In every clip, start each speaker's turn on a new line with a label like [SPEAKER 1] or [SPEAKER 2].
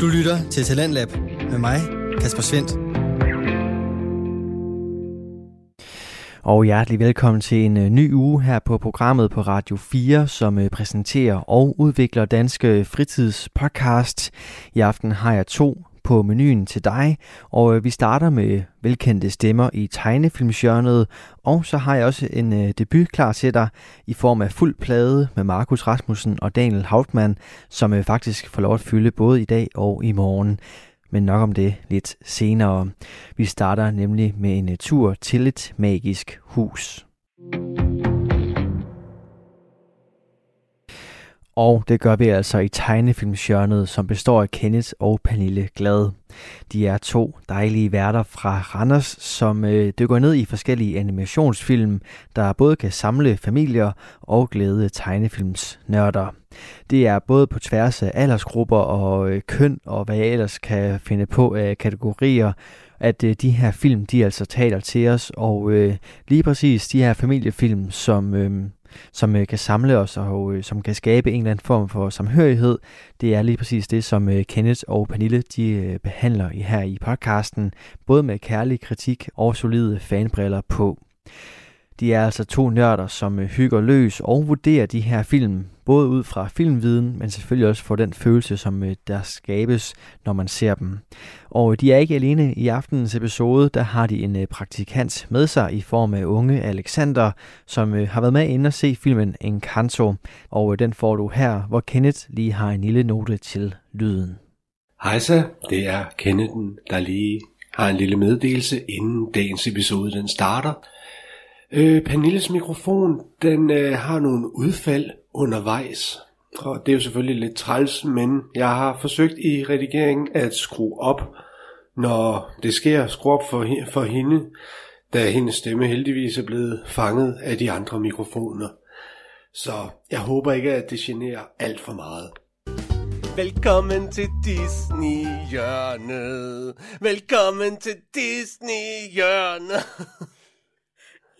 [SPEAKER 1] Du lytter til Talentlab med mig, Kasper Svendt.
[SPEAKER 2] Og hjertelig velkommen til en øh, ny uge her på programmet på Radio 4, som øh, præsenterer og udvikler danske fritidspodcast. I aften har jeg to på menuen til dig, og øh, vi starter med velkendte stemmer i tegnefilmsjørnet, og så har jeg også en øh, debut klar til dig i form af fuld plade med Markus Rasmussen og Daniel Hauptmann, som øh, faktisk får lov at fylde både i dag og i morgen. Men nok om det lidt senere. Vi starter nemlig med en øh, tur til et magisk hus. Og det gør vi altså i tegnefilmsjørnet, som består af Kenneth og Pernille Glad. De er to dejlige værter fra Randers, som øh, dykker ned i forskellige animationsfilm, der både kan samle familier og glæde tegnefilmsnørder. Det er både på tværs af aldersgrupper og øh, køn og hvad jeg ellers kan finde på af kategorier, at øh, de her film, de altså taler til os, og øh, lige præcis de her familiefilm, som... Øh, som øh, kan samle os og øh, som kan skabe en eller anden form for samhørighed. Det er lige præcis det, som øh, Kenneth og Pernille de, øh, behandler i, her i podcasten, både med kærlig kritik og solide fanbriller på. De er altså to nørder, som øh, hygger løs og vurderer de her film, både ud fra filmviden, men selvfølgelig også for den følelse, som øh, der skabes, når man ser dem. Og øh, de er ikke alene i aftenens episode, der har de en øh, praktikant med sig i form af unge Alexander, som øh, har været med inde og se filmen Encanto, og øh, den får du her, hvor Kenneth lige har en lille note til lyden.
[SPEAKER 3] Hejsa, det er Kennethen, der lige har en lille meddelelse, inden dagens episode den starter. Øh, Pernilles mikrofon, den øh, har nogle udfald undervejs. Og det er jo selvfølgelig lidt træls, men jeg har forsøgt i redigeringen at skrue op, når det sker, skrue op for, he- for hende, da hendes stemme heldigvis er blevet fanget af de andre mikrofoner. Så jeg håber ikke, at det generer alt for meget. Velkommen til Disney-hjørnet. Velkommen til Disney-hjørnet.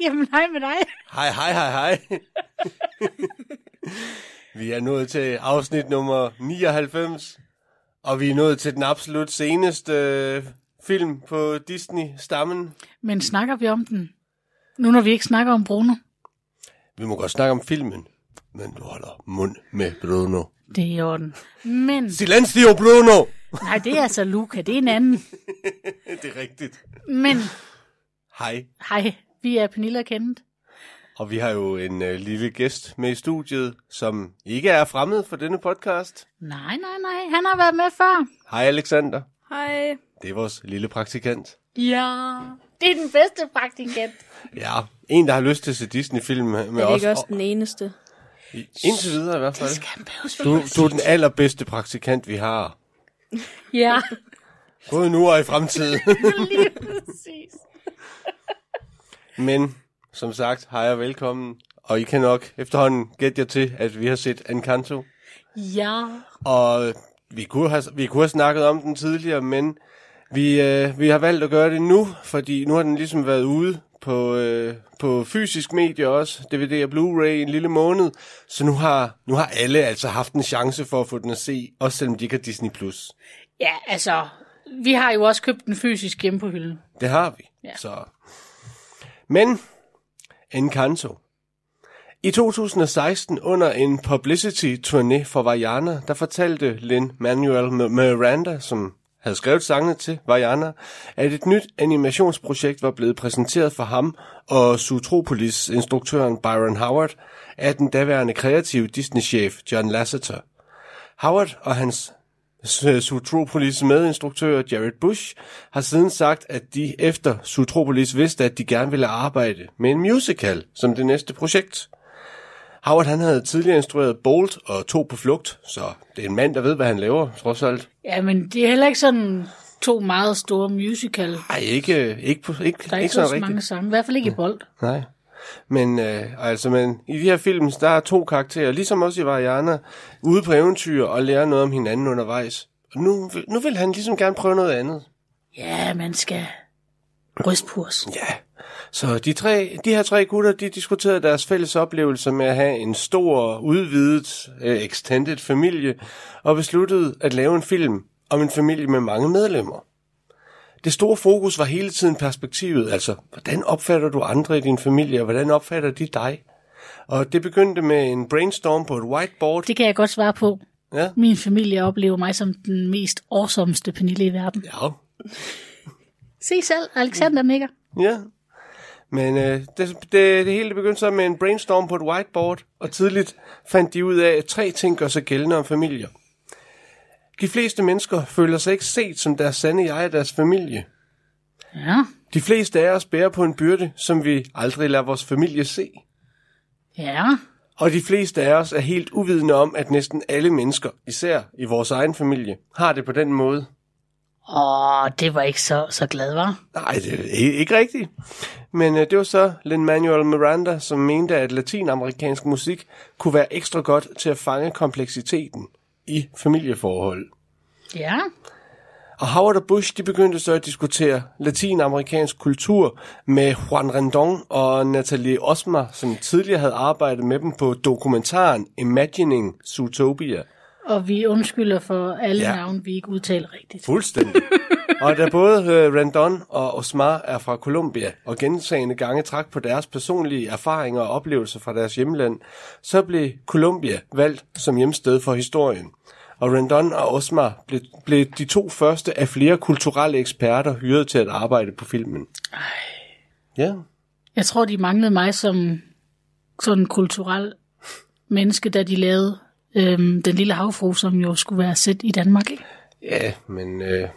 [SPEAKER 4] Jamen hej med dig.
[SPEAKER 3] Hej, hej, hej, hej. vi er nået til afsnit nummer 99, og vi er nået til den absolut seneste øh, film på Disney-stammen.
[SPEAKER 4] Men snakker vi om den? Nu når vi ikke snakker om Bruno.
[SPEAKER 3] Vi må godt snakke om filmen, men du holder mund med Bruno.
[SPEAKER 4] Det er i orden. Men,
[SPEAKER 3] Silencio Bruno!
[SPEAKER 4] nej det er altså Luca, det er en anden.
[SPEAKER 3] det er rigtigt.
[SPEAKER 4] Men,
[SPEAKER 3] Hej.
[SPEAKER 4] hej, vi er Pernille og Kenneth.
[SPEAKER 3] Og vi har jo en øh, lille gæst med i studiet, som ikke er fremmed for denne podcast.
[SPEAKER 4] Nej, nej, nej, han har været med før.
[SPEAKER 3] Hej Alexander.
[SPEAKER 5] Hej.
[SPEAKER 3] Det er vores lille praktikant.
[SPEAKER 4] Ja. Det er den bedste praktikant.
[SPEAKER 3] Ja, en, der har lyst til at se Disney-film med
[SPEAKER 5] Er det
[SPEAKER 3] os.
[SPEAKER 5] ikke også den eneste?
[SPEAKER 3] I- Indtil videre i hvert fald.
[SPEAKER 4] Kan behøves
[SPEAKER 3] Du, du er den allerbedste praktikant, vi har.
[SPEAKER 4] Ja,
[SPEAKER 3] Både nu og i fremtiden.
[SPEAKER 4] lige præcis.
[SPEAKER 3] Men som sagt, hej og velkommen. Og I kan nok efterhånden gætte jer til, at vi har set Encanto.
[SPEAKER 4] Ja.
[SPEAKER 3] Og vi kunne have, vi kunne have snakket om den tidligere, men vi, øh, vi har valgt at gøre det nu, fordi nu har den ligesom været ude på, øh, på fysisk medie også, DVD og Blu-ray i en lille måned. Så nu har, nu har alle altså haft en chance for at få den at se, også selvom de ikke har Disney+. Plus.
[SPEAKER 4] Ja, altså, vi har jo også købt den fysisk hjemme på hylden.
[SPEAKER 3] Det har vi. Ja.
[SPEAKER 4] Ja.
[SPEAKER 3] Så. Men Encanto. I 2016, under en publicity-turné for Vajana, der fortalte Lin-Manuel M- Miranda, som havde skrevet sangene til Vajana, at et nyt animationsprojekt var blevet præsenteret for ham og Zootropolis-instruktøren Byron Howard af den daværende kreative Disney-chef John Lasseter. Howard og hans Zootropolis medinstruktør Jared Bush har siden sagt, at de efter Zootropolis vidste, at de gerne ville arbejde med en musical som det næste projekt. Howard han havde tidligere instrueret Bolt og To på flugt, så det er en mand, der ved, hvad han laver, trods alt.
[SPEAKER 4] Ja, men det er heller ikke sådan to meget store musical.
[SPEAKER 3] Ej, ikke, ikke, på- ikke,
[SPEAKER 4] Der er
[SPEAKER 3] ikke
[SPEAKER 4] ikke
[SPEAKER 3] sådan
[SPEAKER 4] så
[SPEAKER 3] rigtigt.
[SPEAKER 4] mange sange, i hvert fald ikke i bold.
[SPEAKER 3] Nej. Men øh, altså, men i de her film, der er to karakterer, ligesom også i Variana, ude på eventyr og lære noget om hinanden undervejs. Og nu, vil- nu vil han ligesom gerne prøve noget andet.
[SPEAKER 4] Ja, man skal rystpurs.
[SPEAKER 3] Ja, så de, tre, de her tre gutter, de diskuterede deres fælles oplevelser med at have en stor, udvidet, øh, extended familie, og besluttede at lave en film om en familie med mange medlemmer. Det store fokus var hele tiden perspektivet, altså hvordan opfatter du andre i din familie, og hvordan opfatter de dig? Og det begyndte med en brainstorm på et whiteboard.
[SPEAKER 4] Det kan jeg godt svare på.
[SPEAKER 3] Ja.
[SPEAKER 4] Min familie oplever mig som den mest årsomste Pernille i verden. Mm.
[SPEAKER 3] Ja,
[SPEAKER 4] Se selv, Alexander nikker.
[SPEAKER 3] Ja. Men øh, det, det, det hele det begyndte så med en brainstorm på et whiteboard, og tidligt fandt de ud af, at tre ting gør sig gældende om familier. De fleste mennesker føler sig ikke set som deres sande jeg og deres familie.
[SPEAKER 4] Ja,
[SPEAKER 3] De fleste af os bærer på en byrde, som vi aldrig lader vores familie se.
[SPEAKER 4] ja,
[SPEAKER 3] Og de fleste af os er helt uvidende om, at næsten alle mennesker, især i vores egen familie, har det på den måde.
[SPEAKER 4] Åh, det var ikke så, så glad, var.
[SPEAKER 3] Nej, det er i- ikke rigtigt. Men øh, det var så Lin-Manuel Miranda, som mente, at latinamerikansk musik kunne være ekstra godt til at fange kompleksiteten i familieforhold.
[SPEAKER 4] Ja,
[SPEAKER 3] Og Howard og Bush de begyndte så at diskutere latinamerikansk kultur med Juan Rendon og Natalie Osmar, som tidligere havde arbejdet med dem på dokumentaren Imagining Zootopia.
[SPEAKER 4] og vi undskylder for alle
[SPEAKER 3] Ja.
[SPEAKER 4] ja. navne, vi ikke udtaler rigtigt.
[SPEAKER 3] Fuldstændig. og da både øh, Rendon og Osmar er fra Colombia, og gentagende gange trak på deres personlige erfaringer og oplevelser fra deres hjemland, så blev Colombia valgt som hjemsted for historien. Og Rendon og Osmar blev, blev de to første af flere kulturelle eksperter hyret til at arbejde på filmen. Ej. Ja.
[SPEAKER 4] Jeg tror, de manglede mig som sådan en kulturel menneske, da de lavede øhm, Den Lille Havfru, som jo skulle være sæt i Danmark. Ikke?
[SPEAKER 3] Ja, men, øh,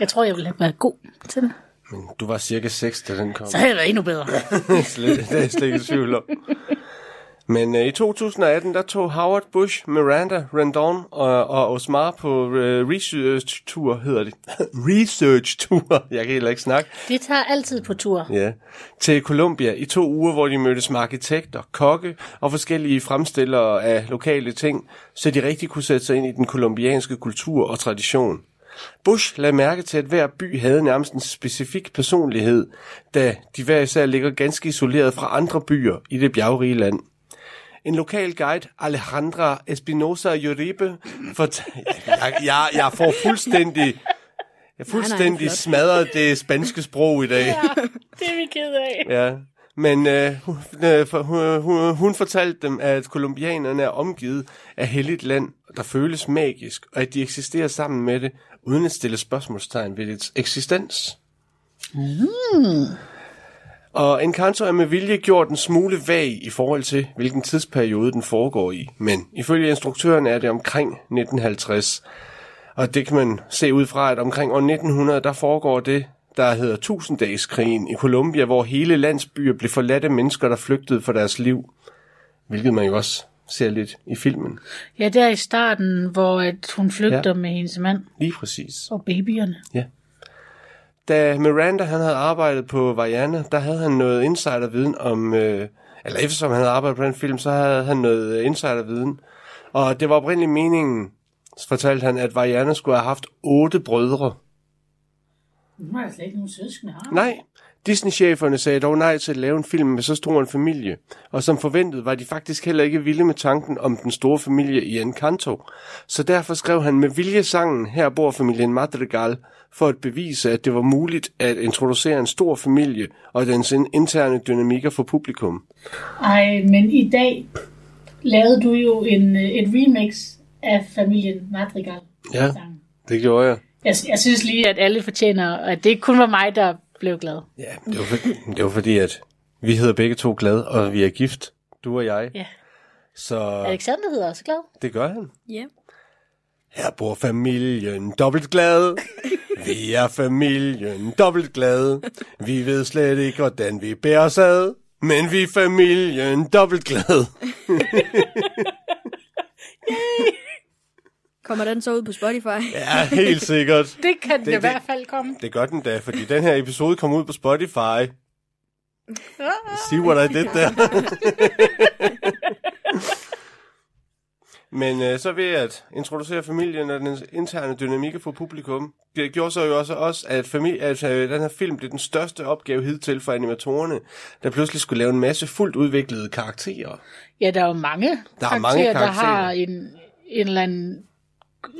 [SPEAKER 4] Jeg tror, jeg ville have været god til det.
[SPEAKER 3] men du var cirka 6, da den kom.
[SPEAKER 4] Så havde jeg været endnu bedre.
[SPEAKER 3] slet, det er jeg slet ikke i tvivl om. Men øh, i 2018, der tog Howard Bush, Miranda, Rendon og, og Osmar på øh, research-tur, hedder det. research-tur, jeg kan heller ikke snakke.
[SPEAKER 4] Det tager altid på tur.
[SPEAKER 3] Ja. Til Colombia i to uger, hvor de mødtes med arkitekter, kokke og forskellige fremstillere af lokale ting, så de rigtig kunne sætte sig ind i den kolumbianske kultur og tradition. Bush lagde mærke til, at hver by havde nærmest en specifik personlighed, da de hver især ligger ganske isoleret fra andre byer i det bjergrige land. En lokal guide, Alejandra Espinosa Uribe, fortalte... Jeg, jeg, jeg får fuldstændig... Jeg fuldstændig
[SPEAKER 5] flot.
[SPEAKER 3] smadret det spanske sprog i dag.
[SPEAKER 4] Det er vi ked af.
[SPEAKER 3] Ja, men øh, hun, øh, for- hun, hun, hun fortalte dem, at kolumbianerne er omgivet af helligt land, der føles magisk, og at de eksisterer sammen med det, uden at stille spørgsmålstegn ved dets eksistens. Mm. Og Encanto er med vilje gjort en smule vag i forhold til, hvilken tidsperiode den foregår i. Men ifølge instruktøren er det omkring 1950. Og det kan man se ud fra, at omkring år 1900, der foregår det, der hedder Tusindagskrigen i Colombia, hvor hele landsbyer blev forladt af mennesker, der flygtede for deres liv. Hvilket man jo også ser lidt i filmen.
[SPEAKER 4] Ja, der i starten, hvor at hun flygter
[SPEAKER 3] Ja.
[SPEAKER 4] ja. med hendes mand
[SPEAKER 3] Lige præcis.
[SPEAKER 4] og babyerne.
[SPEAKER 3] Da Miranda han havde arbejdet på Vajana, der havde han noget insiderviden om... Øh, eller eftersom han havde arbejdet på den film, så havde han noget øh, insiderviden. Og det var oprindeligt meningen, fortalte han, at Vajana skulle have haft otte brødre.
[SPEAKER 4] Hun har slet ikke nogen søskende, har
[SPEAKER 3] Nej, Disney-cheferne sagde dog nej til at lave en film med så stor en familie, og som forventet var de faktisk heller ikke vilde med tanken om den store familie i Encanto, så derfor skrev han med vilje sangen Her bor familien Madrigal, for at bevise, at det var muligt at introducere en stor familie og dens in- interne dynamikker for publikum.
[SPEAKER 4] Ej, men i dag lavede du jo en, øh, et remix af familien Madrigal.
[SPEAKER 3] Ja, det gjorde jeg.
[SPEAKER 4] Jeg, jeg synes lige, at alle fortjener, at det ikke kun var mig, der blev glad.
[SPEAKER 3] Ja, det var, for, det var fordi, at vi hedder begge to glad, og vi er gift, du og jeg.
[SPEAKER 4] Ja.
[SPEAKER 3] Så
[SPEAKER 4] Alexander hedder også glad.
[SPEAKER 3] det gør han.
[SPEAKER 5] Ja.
[SPEAKER 3] Her bor familien dobbelt glad. Vi er familien dobbelt glad. Vi ved slet ikke, hvordan vi bærer os ad. Men vi er familien dobbelt glad.
[SPEAKER 5] Kommer den så ud på Spotify? Ja.
[SPEAKER 3] Ja, helt sikkert.
[SPEAKER 4] Det kan det,
[SPEAKER 3] det-
[SPEAKER 4] i hvert fald komme.
[SPEAKER 3] Det gør den da, fordi den her episode kom ud på Spotify. See what I did there. Men øh, så ved at introducere familien og den interne dynamik for publikum, det gjorde så jo også, også at, familie, at øh, den her film blev den største opgave hidtil for animatorerne, der pludselig skulle lave en masse fuldt udviklede karakterer.
[SPEAKER 4] Ja, der er jo mange
[SPEAKER 3] mange
[SPEAKER 4] der
[SPEAKER 3] karakterer.
[SPEAKER 4] har en, en eller anden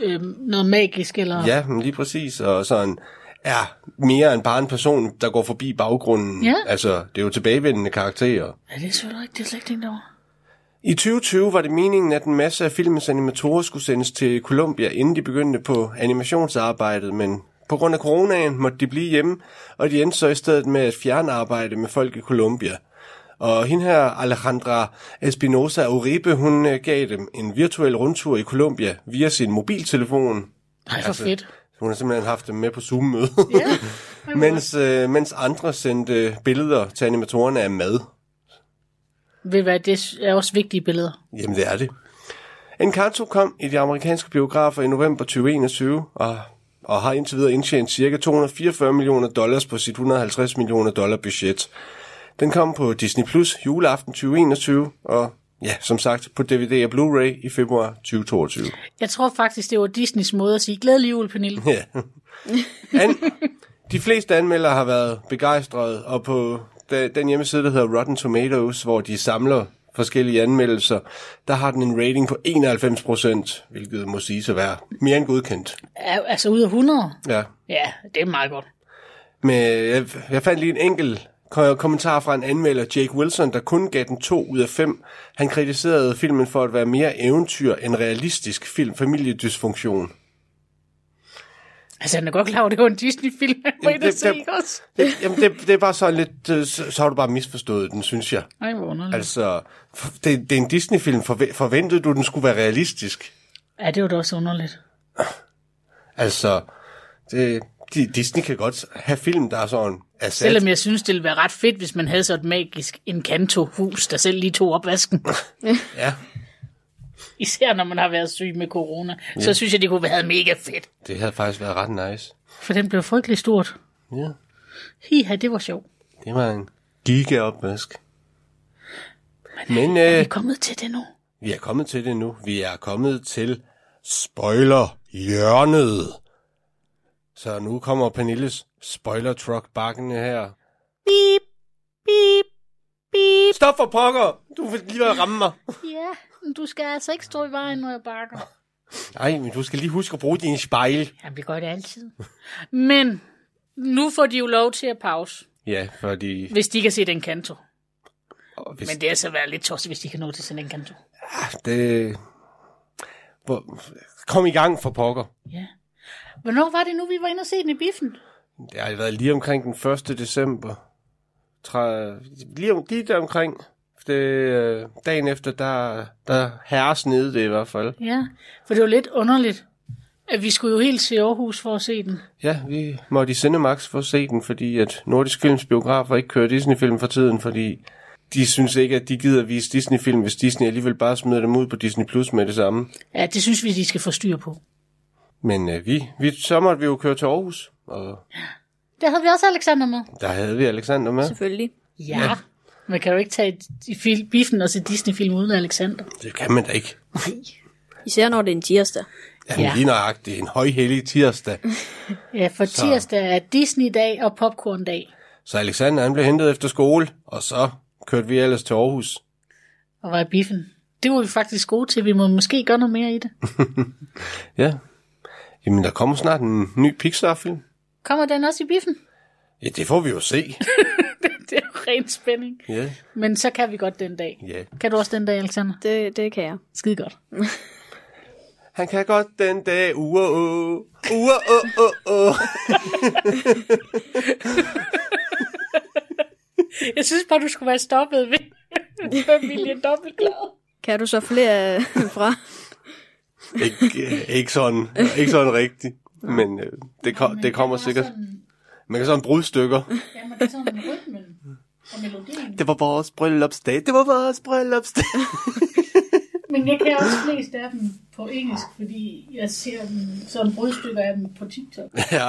[SPEAKER 4] øh, noget magisk, eller...
[SPEAKER 3] Ja, men lige præcis. Og sådan er mere end bare en person, der går forbi baggrunden.
[SPEAKER 4] Ja.
[SPEAKER 3] Altså, det er jo tilbagevendende karakterer.
[SPEAKER 4] ja det er selvfølgelig rigtigt, det er slet ikke tænkt over.
[SPEAKER 3] I 2020 var det meningen, at en masse af filmens animatorer skulle sendes til Colombia, inden de begyndte på animationsarbejdet, men på grund af coronaen måtte de blive hjemme, og de endte så i stedet med at fjerne arbejde med folk i Colombia. Og hende her, Alejandra Espinosa Uribe, hun øh, gav dem en virtuel rundtur i Colombia via sin mobiltelefon.
[SPEAKER 4] Nej,
[SPEAKER 3] Altså-
[SPEAKER 4] for fedt.
[SPEAKER 3] Hun har simpelthen haft dem med på Zoom-møde, mens, øh, mens andre sendte billeder til animatorerne af mad.
[SPEAKER 4] Ved hvad, det er også vigtige billeder.
[SPEAKER 3] Jamen, det er det. Encanto kom i de amerikanske biografer i november 2021 og, og har indtil videre indtjent ca. 244 millioner dollars på sit 150 millioner dollar budget. Den kom på Disney Plus juleaften 2021 og ja, som sagt på DVD og Blu-ray i februar 2022.
[SPEAKER 4] Jeg tror faktisk, det var Disneys måde at sige, glædelig jul, Pernille.
[SPEAKER 3] Ja. An- de fleste anmeldere har været begejstrede, og på da- den hjemmeside, der hedder Rotten Tomatoes, hvor de samler forskellige anmeldelser, der har den en rating på 91 procent, hvilket må siges at være mere end godkendt.
[SPEAKER 4] Ja, altså ud af 100?
[SPEAKER 3] Ja.
[SPEAKER 4] Ja, det er meget godt.
[SPEAKER 3] Men jeg, jeg fandt lige en enkelt ko- kommentar fra en anmelder, Jake Wilson, der kun gav den 2 ud af 5. Han kritiserede filmen for at være mere eventyr end realistisk film familiedysfunktion.
[SPEAKER 4] Altså, han er godt klar over, det var en Disney-film, han var
[SPEAKER 3] Jamen,
[SPEAKER 4] inde at
[SPEAKER 3] det-
[SPEAKER 4] se,
[SPEAKER 3] det-
[SPEAKER 4] ikke også?
[SPEAKER 3] Det, jamen, det, det er bare sådan lidt... øh, Så, så har du bare misforstået den, synes jeg.
[SPEAKER 4] Nej, hvor underligt. Altså,
[SPEAKER 3] Altså, f- det, det er en Disney-film. Forve- Forventede du, den skulle være realistisk?
[SPEAKER 4] ja, det var da også underligt.
[SPEAKER 3] Altså, det, de, Disney kan godt have film, der er sådan er sat.
[SPEAKER 4] Selvom jeg synes, det ville være ret fedt, hvis man havde så et magisk Encanto-hus, der selv lige tog opvasken.
[SPEAKER 3] Ja,
[SPEAKER 4] Især når man har været syg med corona. Så synes jeg, det kunne have været mega fedt.
[SPEAKER 3] det havde faktisk været ret nice.
[SPEAKER 4] For den blev frygtelig stort.
[SPEAKER 3] Ja,
[SPEAKER 4] Hiha, det var sjovt.
[SPEAKER 3] det var en gigaopvask. Men øh,
[SPEAKER 4] Vi er kommet til det nu.
[SPEAKER 3] vi er kommet til det nu. Vi er kommet til spoiler-hjørnet. Så nu kommer Pernilles spoiler-truck bakkende her. Beep, beep, beep. Stop for pokker! Du vil lige ved at ramme mig.
[SPEAKER 4] Ja, men du skal altså ikke stå i vejen, når jeg bakker.
[SPEAKER 3] Nej, men du skal lige huske at bruge din spejl.
[SPEAKER 4] Jamen, vi gør det altid. Men nu får de jo lov til at pause,
[SPEAKER 3] Ja, fordi...
[SPEAKER 4] hvis de kan se den kanto.
[SPEAKER 3] Hvis,
[SPEAKER 4] Men det er altså været lidt tosset, hvis de kan nå til sådan en kanto.
[SPEAKER 3] det... Hvor- Kom i gang for pokker.
[SPEAKER 4] Ja. Hvornår var det nu, vi var inde og se den i biffen?
[SPEAKER 3] Det har været lige omkring den 1. december. Tre... Lige, om... lige der omkring. Det, øh, dagen efter, der, der herres nede det i hvert fald.
[SPEAKER 4] Ja, for det var lidt underligt, at vi skulle jo helt til Aarhus for at se den.
[SPEAKER 3] Ja, vi måtte i Cinemax for at se den, fordi at Nordisk Films biografer ikke kører Disney-film for tiden, fordi de synes ikke, at de gider vise Disney-film, hvis Disney alligevel bare smider dem ud på Disney Plus med det samme.
[SPEAKER 4] Ja, det synes vi, de skal få styr på.
[SPEAKER 3] Men øh, vi, vi, så måtte vi jo køre til Aarhus, og
[SPEAKER 4] Der havde vi også Alexander med.
[SPEAKER 3] der havde vi Alexander med.
[SPEAKER 5] Selvfølgelig.
[SPEAKER 4] Ja. ja. Man kan jo ikke tage i fil- biffen og se Disney-film uden Alexander.
[SPEAKER 3] Det kan man da ikke.
[SPEAKER 4] Nej.
[SPEAKER 5] Især når det er en tirsdag.
[SPEAKER 3] Jamen, ja.
[SPEAKER 4] Ja.
[SPEAKER 3] lige nøjagtigt. En højhellig tirsdag.
[SPEAKER 4] Ja, for så. tirsdag er Disney-dag og popcorn-dag.
[SPEAKER 3] Så Alexander, han blev hentet efter skole, og så kørte vi ellers til Aarhus.
[SPEAKER 4] Og var i biffen. Det var vi faktisk gode til. Vi må måske gøre noget mere i det.
[SPEAKER 3] Ja. Jamen, der kommer snart en ny Pixar-film.
[SPEAKER 4] Kommer den også i biffen?
[SPEAKER 3] Ja, det får vi jo se.
[SPEAKER 4] Det er jo ren spænding.
[SPEAKER 3] Ja,
[SPEAKER 4] Men så kan vi godt den dag.
[SPEAKER 3] ja.
[SPEAKER 4] Kan du også den dag, Alexander?
[SPEAKER 5] Det, det kan jeg.
[SPEAKER 4] Skide godt.
[SPEAKER 3] Han kan godt den dag, ua uh, ua uh, uh, uh.
[SPEAKER 4] Jeg synes bare, du skulle være stoppet ved familien dobbeltglad.
[SPEAKER 5] Kan du så flere øh, fra?
[SPEAKER 3] Ikke, øh, ikke, sådan, ikke sådan rigtigt. Men øh, det, kom, det kommer sikkert. Man kan sådan bruge stykker.
[SPEAKER 4] Ja, men det er sådan rytmen og melodien.
[SPEAKER 3] Det var vores bryllupsdag. Det var vores bryllupsdag.
[SPEAKER 4] Men jeg kan også flest af dem på engelsk, fordi jeg ser dem sådan brudstykker af dem på TikTok.
[SPEAKER 3] Ja.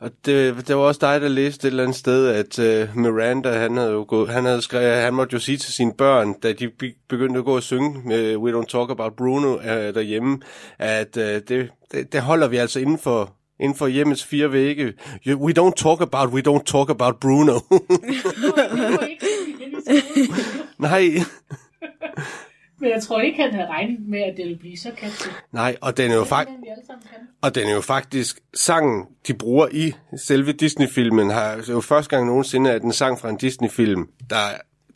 [SPEAKER 3] Og det, det var også dig, der læste et eller andet sted, at uh, Miranda, han havde jo gået, han havde skrevet, han måtte jo sige til sine børn, da de be- begyndte at gå og synge med We Don't Talk About Bruno uh, derhjemme, at uh, det, det, det holder vi altså inden for, inden for hjemmets fire vægge. You- We don't talk about, we don't talk about Bruno.
[SPEAKER 4] Det var ikke
[SPEAKER 3] Nej.
[SPEAKER 4] Men jeg tror ikke, han havde regnet med, at det ville blive så kastet.
[SPEAKER 3] Nej, og den er jo faktisk...
[SPEAKER 4] vi alle sammen kan.
[SPEAKER 3] Og den er jo faktisk sangen, de bruger i selve Disney-filmen. Har det er jo første gang nogensinde, at en sang fra en Disney-film, der,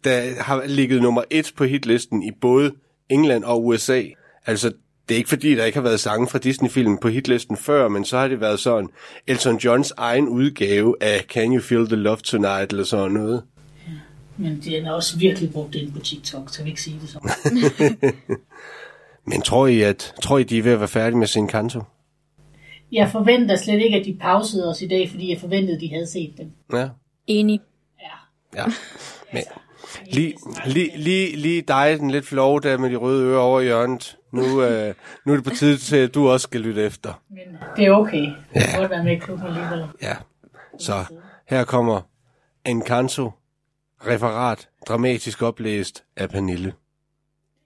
[SPEAKER 3] der har ligget nummer et på hitlisten i både England og USA. Altså, det er ikke fordi, der ikke har været sange fra Disney-filmen på hitlisten før, men så har det været sådan Elton Johns egen udgave af Can You Feel the Love Tonight, eller sådan noget.
[SPEAKER 4] Men de har også virkelig brugt det inde på TikTok, så vi ikke sige det sådan.
[SPEAKER 3] Men tror I, at, tror I de er ved at være færdige med sin kanto?
[SPEAKER 4] Jeg forventer slet ikke, at de pausede os i dag, fordi jeg forventede, at de havde set dem.
[SPEAKER 3] Ja.
[SPEAKER 5] Enig.
[SPEAKER 4] Ja.
[SPEAKER 3] Ja. Men lige, lige, lige, lige dig, den lidt flove der med de røde ører over i hjørnet. Nu, øh, nu er det på tide til, at du også skal lytte efter.
[SPEAKER 4] Men det er okay. Jeg kan godt være med i klubben alligevel.
[SPEAKER 3] Ja. Så her kommer Encanto, referat, dramatisk oplæst af Pernille.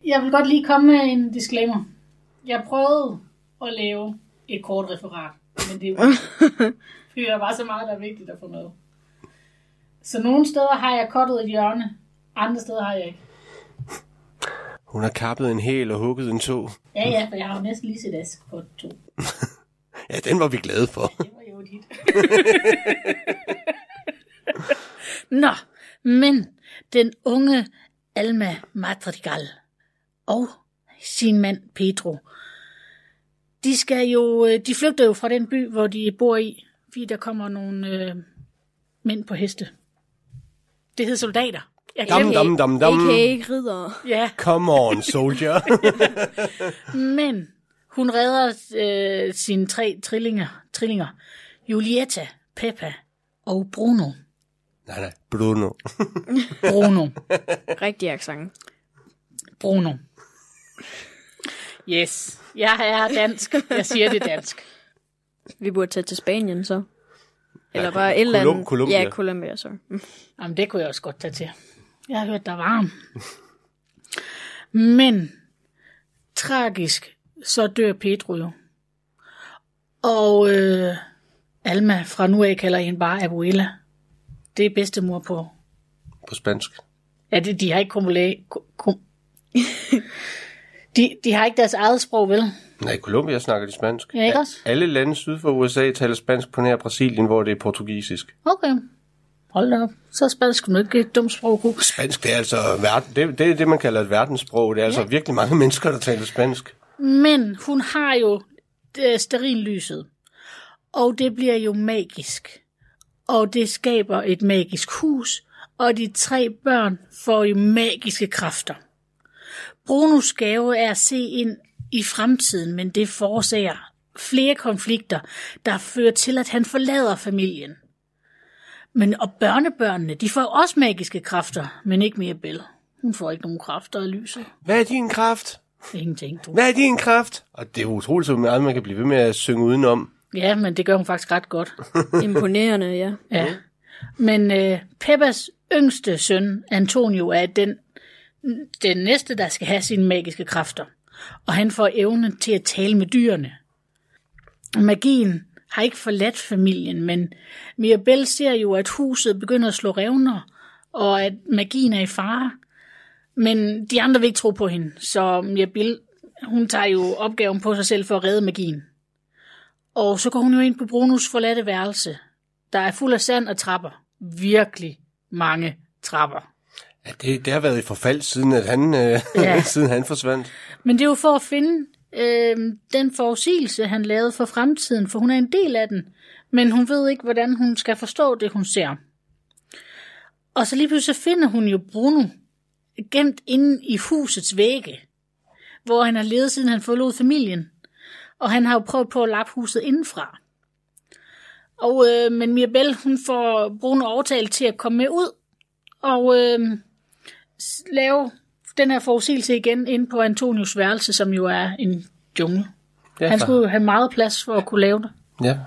[SPEAKER 4] Jeg vil godt lige komme med en disclaimer. Jeg prøvede at lave et kort referat, men det er jo fordi der var så meget, der er vigtigt at få med. Så nogle steder har jeg kottet et hjørne, andre steder har jeg ikke.
[SPEAKER 3] Hun har kappet en hæl og hugget en tog.
[SPEAKER 4] Ja, ja, for jeg har jo næsten lige set Ask på to.
[SPEAKER 3] Ja, den var vi glade for.
[SPEAKER 4] Det var jo dit. Nå, men den unge Alma Madrigal og sin mand Pedro, de, skal jo, øh, de flygter jo fra den by, hvor de bor i, fordi der kommer nogle øh, mænd på heste. Det hedder soldater. Jeg
[SPEAKER 3] Dam,
[SPEAKER 4] glemte
[SPEAKER 3] dam, dam, dam.
[SPEAKER 5] A.k.a. ridder.
[SPEAKER 4] Ja,
[SPEAKER 3] Come on, soldier.
[SPEAKER 4] Men hun redder øh, sine tre trillinger, trillinger, Julieta, Peppa og Bruno.
[SPEAKER 3] nej, nej, Bruno.
[SPEAKER 4] Bruno.
[SPEAKER 5] Rigtig accent.
[SPEAKER 4] Bruno. Yes, jeg er dansk. Jeg siger det dansk.
[SPEAKER 5] Vi burde tage til Spanien så. Eller bare et eller
[SPEAKER 3] Colum-
[SPEAKER 5] andet.
[SPEAKER 3] Colombia.
[SPEAKER 5] Ja, Colombia, så. Mm.
[SPEAKER 4] Jamen, det kunne jeg også godt tage til. Jeg har hørt, der er varm. Men, tragisk, så dør Pedro jo. Og øh, Alma, fra nu af kalder jeg hende bare Abuela. Det er bedstemor på
[SPEAKER 3] På spansk.
[SPEAKER 4] Ja, det, de har ikke kumulæ... Kum... de, de har ikke deres eget sprog, vel?
[SPEAKER 3] Nej, i Colombia snakker de spansk.
[SPEAKER 4] Ja, ikke også?
[SPEAKER 3] Alle lande syd for USA taler spansk på nær Brasilien, hvor det er portugisisk.
[SPEAKER 4] Okay. Hold da op. Så er spansk nu ikke et dumt sprog. Gu.
[SPEAKER 3] Spansk, det er altså verden, det, det, er det, man kalder et verdenssprog. Det er altså virkelig mange mennesker, der taler spansk.
[SPEAKER 4] Men hun har jo øh, sterinlyset. Og det bliver jo magisk. Og det skaber et magisk hus. Og de tre børn får jo magiske kræfter. Brunos gave er at se ind i fremtiden, men det forårsager flere konflikter, der fører til, at han forlader familien. Men og børnebørnene, de får jo også magiske kræfter, men ikke mere Bell. Hun får ikke nogen kræfter af lyset.
[SPEAKER 3] Hvad er din kraft?
[SPEAKER 4] Ingenting, du.
[SPEAKER 3] Hvad er din kraft? Og det er utroligt, så meget man kan blive ved med at synge udenom.
[SPEAKER 4] Ja, men det gør hun faktisk ret godt.
[SPEAKER 5] Imponerende, ja.
[SPEAKER 4] Ja. Men øh, Peppas yngste søn, Antonio, er den, den næste, der skal have sine magiske kræfter. Og han får evnen til at tale med dyrene. Magien har ikke forladt familien, men Mirabel ser jo, at huset begynder at slå revner, og at magien er i fare. Men de andre vil ikke tro på hende, så Mirabel, hun tager jo opgaven på sig selv for at redde magien. Og så går hun jo ind på Brunos forladte værelse, der er fuld af sand og trapper. Virkelig mange trapper.
[SPEAKER 3] Ja, det, det har været i forfald, siden, at han, øh,
[SPEAKER 4] Ja.
[SPEAKER 3] ja. siden han forsvandt.
[SPEAKER 4] Men det er jo for at finde øh, den forudsigelse, han lavede for fremtiden, for hun er en del af den. Men hun ved ikke, hvordan hun skal forstå det, hun ser. Og så lige pludselig så finder hun jo Bruno gemt inde i husets vægge, hvor han har levet, siden han forlod familien. Og han har jo prøvet på at lappe huset indenfra. Og, øh, men Mirabel, hun får Bruno overtalt til at komme med ud, og øh, lave den her forudsigelse igen ind på Antonius værelse, som jo er en jungle.
[SPEAKER 3] Ja,
[SPEAKER 4] Han
[SPEAKER 3] for-
[SPEAKER 4] skulle jo have meget plads for at kunne lave det.
[SPEAKER 3] Ja.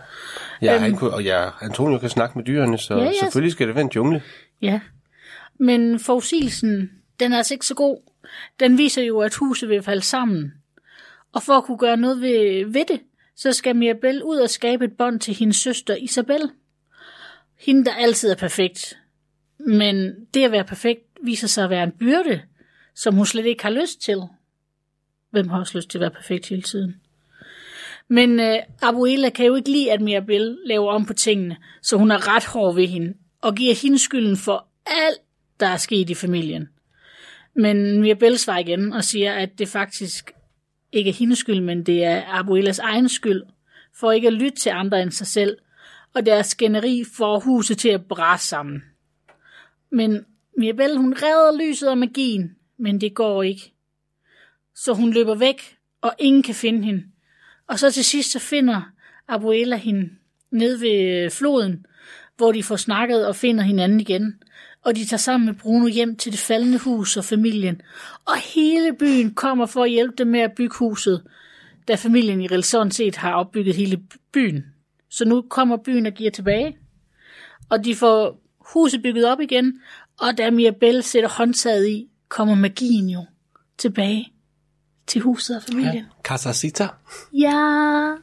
[SPEAKER 3] Ja, han kunne, og ja, Antonio kan snakke med dyrene, så
[SPEAKER 4] Øhm. Ja,
[SPEAKER 3] ja,
[SPEAKER 4] ja.
[SPEAKER 3] ja. selvfølgelig skal det være en jungle.
[SPEAKER 4] Ja. Men forudsigelsen, den er altså ikke så god. Den viser jo, at huset vil falde sammen. Og for at kunne gøre noget ved, ved det, så skal Mirabel ud og skabe et bånd til hendes søster Isabel. Hende, der altid er perfekt. Men det at være perfekt viser sig at være en byrde, som hun slet ikke har lyst til. Hvem har også lyst til at være perfekt hele tiden? Men øh, Abuela kan jo ikke lide, at Mirabel laver om på tingene, så hun er ret hård ved hende, og giver hende skylden for alt, der er sket i familien. Men Mirabel svarer igen og siger, at det faktisk ikke er hendes skyld, men det er Abuelas egen skyld, for ikke at lytte til andre end sig selv, og deres skænderi får huset til at brase sammen. Men Mirabel, hun redder lyset og magien, men det går ikke. Så hun løber væk, og ingen kan finde hende. Og så til sidst, så finder Abuela hende ned ved øh, floden, hvor de får snakket og finder hinanden igen. Og de tager sammen med Bruno hjem til det faldende hus og familien. Og hele byen kommer for at hjælpe dem med at bygge huset, da familien i realiseren set har opbygget hele byen. Så nu kommer byen og giver tilbage. Og de får huset bygget op igen, og da Mirabelle sætter håndtaget i, kommer magien jo tilbage til huset og familien. Ja.
[SPEAKER 3] Casasita.
[SPEAKER 4] Ja.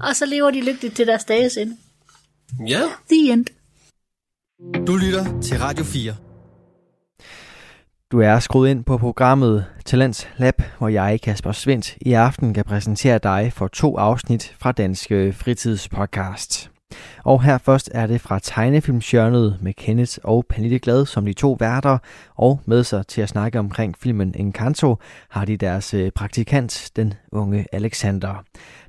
[SPEAKER 4] Og så lever de lykkeligt til deres dages ende.
[SPEAKER 3] Ja.
[SPEAKER 4] The end.
[SPEAKER 1] Du lytter til Radio 4.
[SPEAKER 2] Du er skruet ind på programmet Talents Lab, hvor jeg, Kasper Svendt, i aften kan præsentere dig for to afsnit fra Danske Fritidspodcast. Og her først er det fra tegnefilmsjørnet med Kenneth og Pernille Glad som de to værter, og med sig til at snakke omkring filmen Encanto har de deres øh, praktikant, den unge Alexander.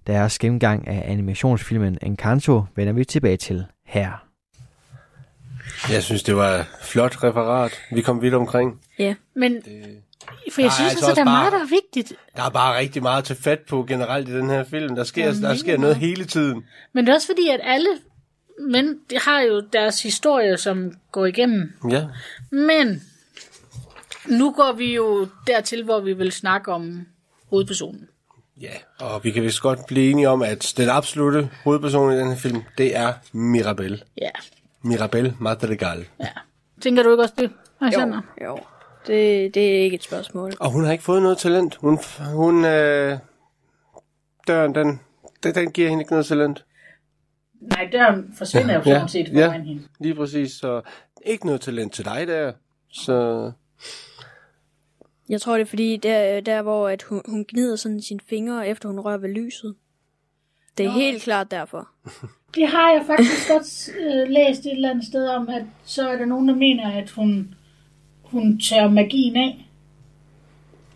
[SPEAKER 2] Deres gennemgang af animationsfilmen Encanto vender vi tilbage til her.
[SPEAKER 3] Jeg synes, det var et flot referat. Vi kom vidt omkring.
[SPEAKER 5] Ja.
[SPEAKER 4] Men,
[SPEAKER 3] Det...
[SPEAKER 4] for jeg
[SPEAKER 3] Nej,
[SPEAKER 4] synes
[SPEAKER 3] altså
[SPEAKER 4] altså, der er
[SPEAKER 3] også bare-
[SPEAKER 4] meget, der er vigtigt.
[SPEAKER 3] Der er bare rigtig meget at tage fat på generelt i den her film. Der sker,
[SPEAKER 4] Jamen,
[SPEAKER 3] der sker
[SPEAKER 4] helt
[SPEAKER 3] noget
[SPEAKER 4] meget.
[SPEAKER 3] hele tiden.
[SPEAKER 4] Men det er også fordi, at alle men de har jo deres historie, som går igennem.
[SPEAKER 3] Ja.
[SPEAKER 4] Men nu går vi jo dertil, hvor vi vil snakke om hovedpersonen.
[SPEAKER 3] Ja, og vi kan vist godt blive enige om, at den absolute hovedperson i den her film, det er Mirabel.
[SPEAKER 4] Ja,
[SPEAKER 3] Mirabel Madrigal.
[SPEAKER 4] ja. Tænker du ikke også det, Alexander?
[SPEAKER 5] Jo, det, det er ikke et spørgsmål.
[SPEAKER 3] Og hun har ikke fået noget talent. Hun, hun øh, døren, den, den, den giver hende ikke noget talent.
[SPEAKER 4] Nej, døren forsvinder jo sådan set foran hende.
[SPEAKER 3] lige præcis. Så ikke noget talent til dig der. Så
[SPEAKER 5] Jeg tror, det er fordi, der, der hvor at hun, hun gnider sådan sine fingre, efter hun rører ved lyset. Det er helt klart derfor.
[SPEAKER 4] Det har jeg faktisk godt øh, læst et eller andet sted om, at så er der nogen, der mener, at hun, hun tør magien af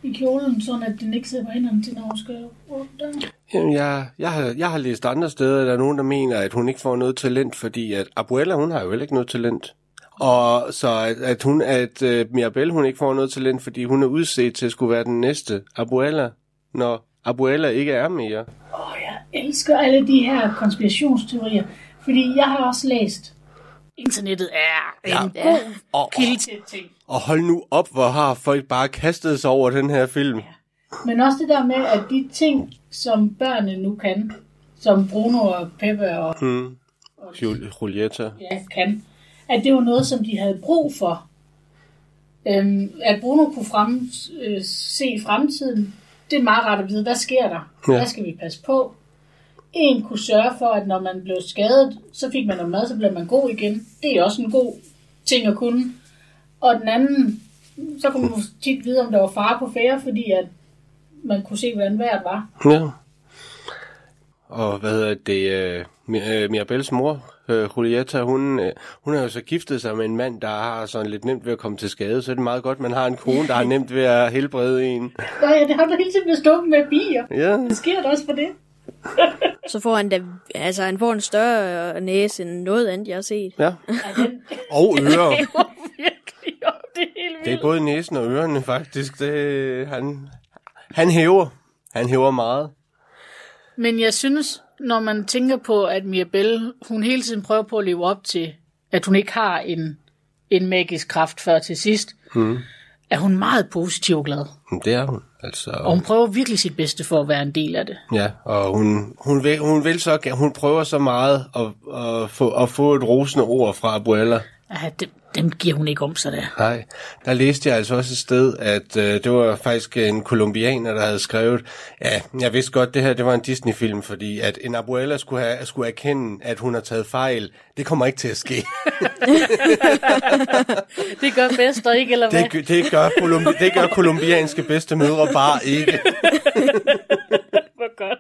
[SPEAKER 4] i kjolen, sådan at den ikke sidder på hænderne til, når hun skal rundt der.
[SPEAKER 3] Jamen, jeg, jeg, har, jeg har læst andre steder, at der er nogen, der mener, at hun ikke får noget talent, fordi at Abuela, hun har jo heller ikke noget talent. Og så at, at hun, at uh, Mirabel, hun ikke får noget talent, fordi hun er udset til at skulle være den næste Abuela, når Abuela ikke er mere.
[SPEAKER 4] Åh, jeg elsker alle de her konspirationsteorier, fordi jeg har også læst. Internettet er en ja. god
[SPEAKER 3] Og,
[SPEAKER 4] kilde til ting.
[SPEAKER 3] og hold nu op, hvor har folk bare kastet sig over den her film.
[SPEAKER 4] Men også det der med, at de ting, som børnene nu kan, som Bruno og Peppe og
[SPEAKER 3] Hmm. Jul- Julieta.
[SPEAKER 4] ja, kan, at det var noget, som de havde brug for. Øhm, at Bruno kunne frem, øh, se fremtiden, det er meget rart at vide, hvad sker der?
[SPEAKER 3] Ja.
[SPEAKER 4] Ja. Hvad skal vi passe på? En kunne sørge for, at når man blev skadet, så fik man noget mad, så blev man god igen. Det er også en god ting at kunne. Og den anden, så kunne man tit vide, om der var fare på færre, fordi at man kunne se, hvordan vejret var.
[SPEAKER 3] Ja. Og hvad hedder det? Øh, Mi- øh, Mirabels mor, øh, Julieta, hun, øh, hun har jo så giftet sig med en mand, der har sådan lidt nemt ved at komme til skade, så er det meget godt, man har en kone, der har nemt ved at helbrede en.
[SPEAKER 4] Nå ja, det har du hele tiden blevet stukket med bier.
[SPEAKER 3] Ja.
[SPEAKER 4] Hvad sker der også for det?
[SPEAKER 5] Så får han da, altså han får en større næse end noget andet, jeg har set.
[SPEAKER 3] ja. Og ører.
[SPEAKER 4] Virkelig, jo, det er helt
[SPEAKER 3] Det er både næsen og ørerne, faktisk. Det, han, han hæver. Han hæver meget.
[SPEAKER 4] Men jeg synes, når man tænker på, at Mirabelle, hun hele tiden prøver på at leve op til, at hun ikke har en, en magisk kraft før til sidst, mm. er hun meget positiv og glad.
[SPEAKER 3] Men Det er hun. Altså,
[SPEAKER 4] Og hun prøver virkelig sit bedste for at være en del af det.
[SPEAKER 3] Ja, og hun, hun, vil, hun vil så, hun prøver så meget at, at, få, at få et rosende ord fra Abuela.
[SPEAKER 4] At det, Dem giver hun ikke om sig der.
[SPEAKER 3] Nej, der læste jeg altså også et sted, at øh, det var faktisk en kolumbianer, der havde skrevet, ja, jeg vidste godt, det her det var en Disney-film, fordi at en abuela skulle, have, skulle erkende, at hun har taget fejl. Det kommer ikke til at ske.
[SPEAKER 4] Det gør bedst, og ikke, eller hvad?
[SPEAKER 3] Det, gør- det, gør, kolumbi, det gør kolumbianske bedstemødre bare ikke.
[SPEAKER 4] Hvor godt.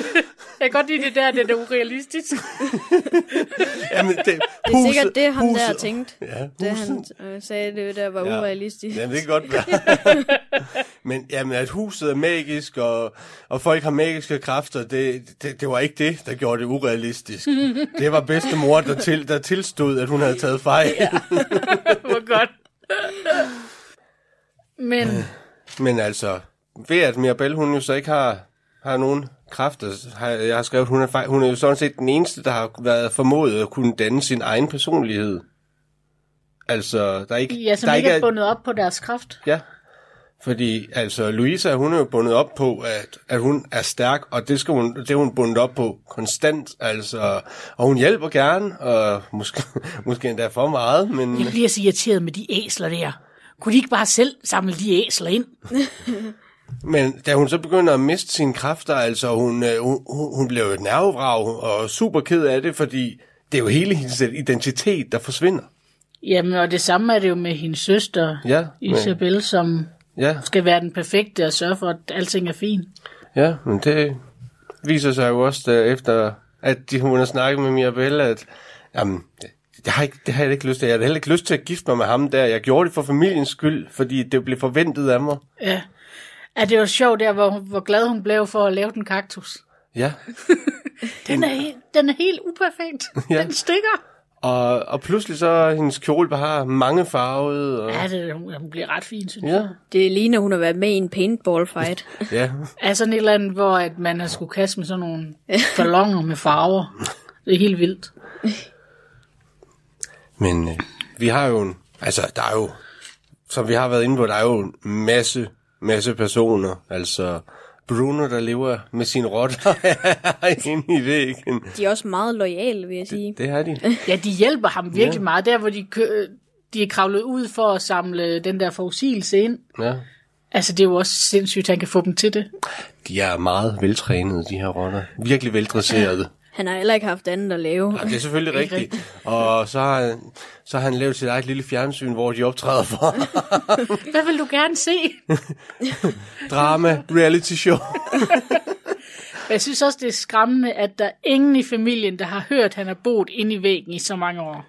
[SPEAKER 4] Jeg kan godt lide det der, det er urealistisk.
[SPEAKER 3] Jamen, det,
[SPEAKER 5] Det er
[SPEAKER 3] huset-
[SPEAKER 5] sikkert det, han
[SPEAKER 3] huset-
[SPEAKER 5] der tænkte,
[SPEAKER 3] Ja,
[SPEAKER 5] da
[SPEAKER 3] huset-
[SPEAKER 5] han øh, sagde, det der var
[SPEAKER 3] Ja.
[SPEAKER 5] urealistisk.
[SPEAKER 3] Jamen, det kan godt være. Men jamen, at huset er magisk, og, og folk har magiske kræfter, det, det, det var ikke det, der gjorde det urealistisk. det var bedstemor, der, til, der tilstod, at hun havde taget fejl. Ja.
[SPEAKER 4] Hvor godt. Men
[SPEAKER 3] Men altså, ved at Mirabelle, hun jo så ikke har, har nogen kræfter, så har, jeg har skrevet, hun er, fejl, hun er jo sådan set den eneste, der har været formået at kunne danne sin egen personlighed. Altså, der er ikke...
[SPEAKER 4] ja, som
[SPEAKER 3] der
[SPEAKER 4] ikke er bundet op på deres kraft.
[SPEAKER 3] Ja, fordi altså Louisa, hun er jo bundet op på, at, at hun er stærk, og det, skal hun, det er hun bundet op på konstant, altså, og hun hjælper gerne, og måske, måske endda for meget, men
[SPEAKER 4] Jeg bliver så irriteret med de æsler der. Kunne de ikke bare selv samle de æsler ind?
[SPEAKER 3] Men da hun så begynder at miste sine kræfter, altså hun, øh, hun, hun hun bliver jo et nervevrag og super ked af det, fordi det er jo hele hendes identitet, der forsvinder.
[SPEAKER 4] Jamen, og det samme er det jo med hendes søster,
[SPEAKER 3] Ja, men-
[SPEAKER 4] Isabel, som
[SPEAKER 3] Ja,
[SPEAKER 4] skal være den perfekte og sørge for, at alting er fint.
[SPEAKER 3] ja, men det viser sig jo også der efter, at de, hun har snakket med Mirabelle, at jamen, jeg har ikke, det har jeg ikke lyst til. Jeg har heller ikke lyst til at gifte mig med ham der. Jeg gjorde det for familiens skyld, fordi det blev forventet af mig.
[SPEAKER 4] Ja. Er det jo sjovt der, hvor, hvor glad hun blev for at lave den kaktus.
[SPEAKER 3] Ja,
[SPEAKER 4] Den er, helt, den er helt uperfekt.
[SPEAKER 3] Ja.
[SPEAKER 4] ja. Den stikker.
[SPEAKER 3] og, og pludselig så er hendes kjole bare mange farvet. Og,
[SPEAKER 4] Ja, det, hun, hun bliver ret fin, synes jeg.
[SPEAKER 3] ja,
[SPEAKER 5] Det ligner, hun har været med i en paintball fight.
[SPEAKER 3] ja.
[SPEAKER 4] Er sådan et eller andet, hvor at man har skulle kaste med sådan nogle balloner med farver. Det er helt vildt.
[SPEAKER 3] Men øh, vi har jo en, altså der er jo, som vi har været inde på, der er jo en masse, masse personer. Altså Bruno, der lever med sin rotter inde i væggen.
[SPEAKER 5] De er også meget lojale, vil jeg sige.
[SPEAKER 3] Det har de.
[SPEAKER 4] Ja, de hjælper ham virkelig meget. Der, hvor de, kø, de er kravlet ud for at samle den der forudsigelse ind.
[SPEAKER 3] Ja.
[SPEAKER 4] Altså, det er jo også sindssygt, at han kan få dem til det.
[SPEAKER 3] De er meget veltrænede, de her rotter. Virkelig veldresserede.
[SPEAKER 5] Han har heller ikke haft andet at lave.
[SPEAKER 3] Og det er selvfølgelig rigtigt. Og så har, han- så har han lavet sit eget lille fjernsyn, hvor de optræder for
[SPEAKER 4] Hvad vil du gerne se?
[SPEAKER 3] drama, reality show.
[SPEAKER 4] Og Jeg synes også, det er skræmmende, at der er ingen i familien, der har hørt, at han har boet inde i væggen i så mange år.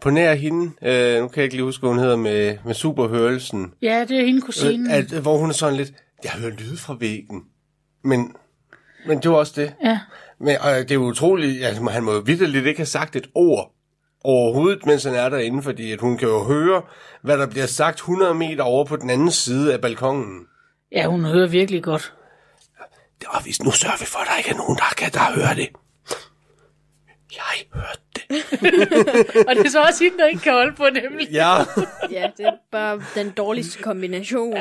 [SPEAKER 3] På nær hende, øh, nu kan jeg ikke lige huske, hvad hun hedder, med, med superhørelsen.
[SPEAKER 4] Ja, det er hende
[SPEAKER 3] Øh,
[SPEAKER 4] kusinen.
[SPEAKER 3] At, hvor hun er sådan lidt, jeg hører lyde fra væggen. Men, men det var også det.
[SPEAKER 4] Ja.
[SPEAKER 3] Men, og det er jo utroligt, altså, han må jo vidderligt ikke have sagt et ord overhovedet, mens han er derinde, fordi at hun kan jo høre, hvad der bliver sagt 100 meter over på den anden side af balkongen.
[SPEAKER 4] ja, hun hører virkelig godt.
[SPEAKER 3] Det var vist, nu sørger vi for, at der ikke er nogen, der kan der høre det. Jeg hørte det.
[SPEAKER 4] Og det er så også hende, der ikke kan holde på det hemmeligt.
[SPEAKER 3] Ja,
[SPEAKER 5] Ja, det er bare den dårligste kombination.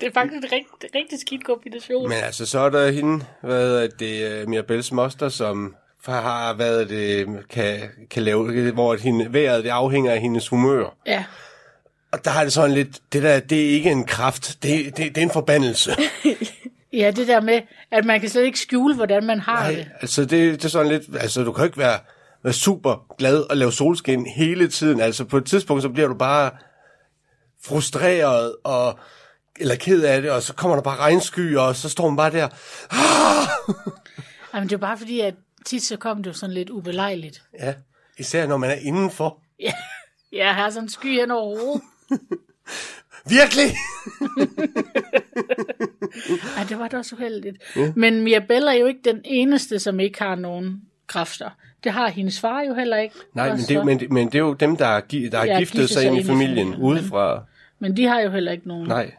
[SPEAKER 4] Det er faktisk en rigtig, rigtig skidt kombination.
[SPEAKER 3] men altså, så er der hende, hvad hedder det, øh, Mirabelles moster, som har været det, kan, kan lave, hvor at hende, vejret det afhænger af hendes humør.
[SPEAKER 4] Ja.
[SPEAKER 3] Og der har det sådan lidt, det der, det er ikke en kraft, det, det, det er en forbandelse.
[SPEAKER 4] ja, det der med, at man kan slet ikke skjule, hvordan man har Nej. det.
[SPEAKER 3] Nej, altså det, det er sådan lidt, altså du kan jo ikke være, være super glad og lave solskin hele tiden. Altså på et tidspunkt, så bliver du bare frustreret og eller ked af det, og så kommer der bare regnskyer, og så står man bare der.
[SPEAKER 4] Jamen, det er jo bare fordi, at tit så kom det jo sådan lidt ubelejligt.
[SPEAKER 3] Ja, især når man er indenfor.
[SPEAKER 4] Ja, her er sådan en sky hen over hovedet.
[SPEAKER 3] Virkelig!
[SPEAKER 4] Ej, det var da også uheldigt. Ja. Men Mirabella er jo ikke den eneste, som ikke har nogen kræfter. Det har hendes far jo heller ikke.
[SPEAKER 3] Nej, men
[SPEAKER 4] Og
[SPEAKER 3] det, er
[SPEAKER 4] så-
[SPEAKER 3] jo- men, det- men det er jo dem, der har, gi- der har
[SPEAKER 4] Ja,
[SPEAKER 3] ja, giftet sig ind i familien
[SPEAKER 4] men-
[SPEAKER 3] udefra.
[SPEAKER 4] Men de har jo heller ikke nogen.
[SPEAKER 3] Nej,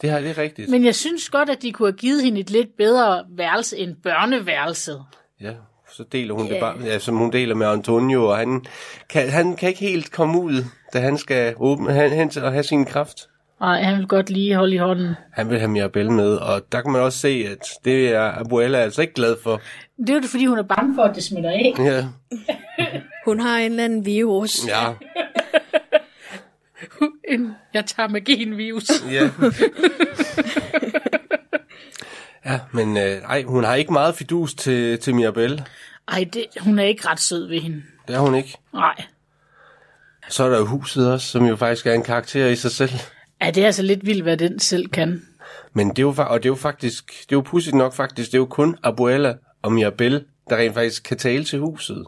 [SPEAKER 3] det her det er rigtigt.
[SPEAKER 4] Men jeg synes godt, at de kunne have givet hende et lidt bedre værelse end børneværelset.
[SPEAKER 3] Ja, så deler hun yeah. det bare, ja, som hun deler med Antonio, og han kan, han kan ikke helt komme ud, da han skal åbne, han, hen til at have sin kraft.
[SPEAKER 4] Og han vil godt lige holde i hånden.
[SPEAKER 3] Han vil have Mirabelle med, og der kan man også se, at det er Abuela altså ikke glad for.
[SPEAKER 4] Det er jo det, fordi hun er bange for, at det smitter af.
[SPEAKER 3] Ja.
[SPEAKER 5] Hun har en eller anden virus.
[SPEAKER 3] Ja,
[SPEAKER 4] En, jeg tager magien virus.
[SPEAKER 3] ja. ja, men øh, ej, hun har ikke meget fidus til, til Mirabelle.
[SPEAKER 4] Ej, det, hun er ikke ret sød ved hende.
[SPEAKER 3] Det har hun ikke.
[SPEAKER 4] Nej.
[SPEAKER 3] Så er der jo huset også, som jo faktisk er en karakter i sig selv.
[SPEAKER 4] Ja, det er altså lidt vildt, hvad den selv kan.
[SPEAKER 3] Men det er jo, fa- og det er jo faktisk, det er jo pudsigt nok faktisk, det er jo kun Abuela og Mirabelle, der rent faktisk kan tale til huset.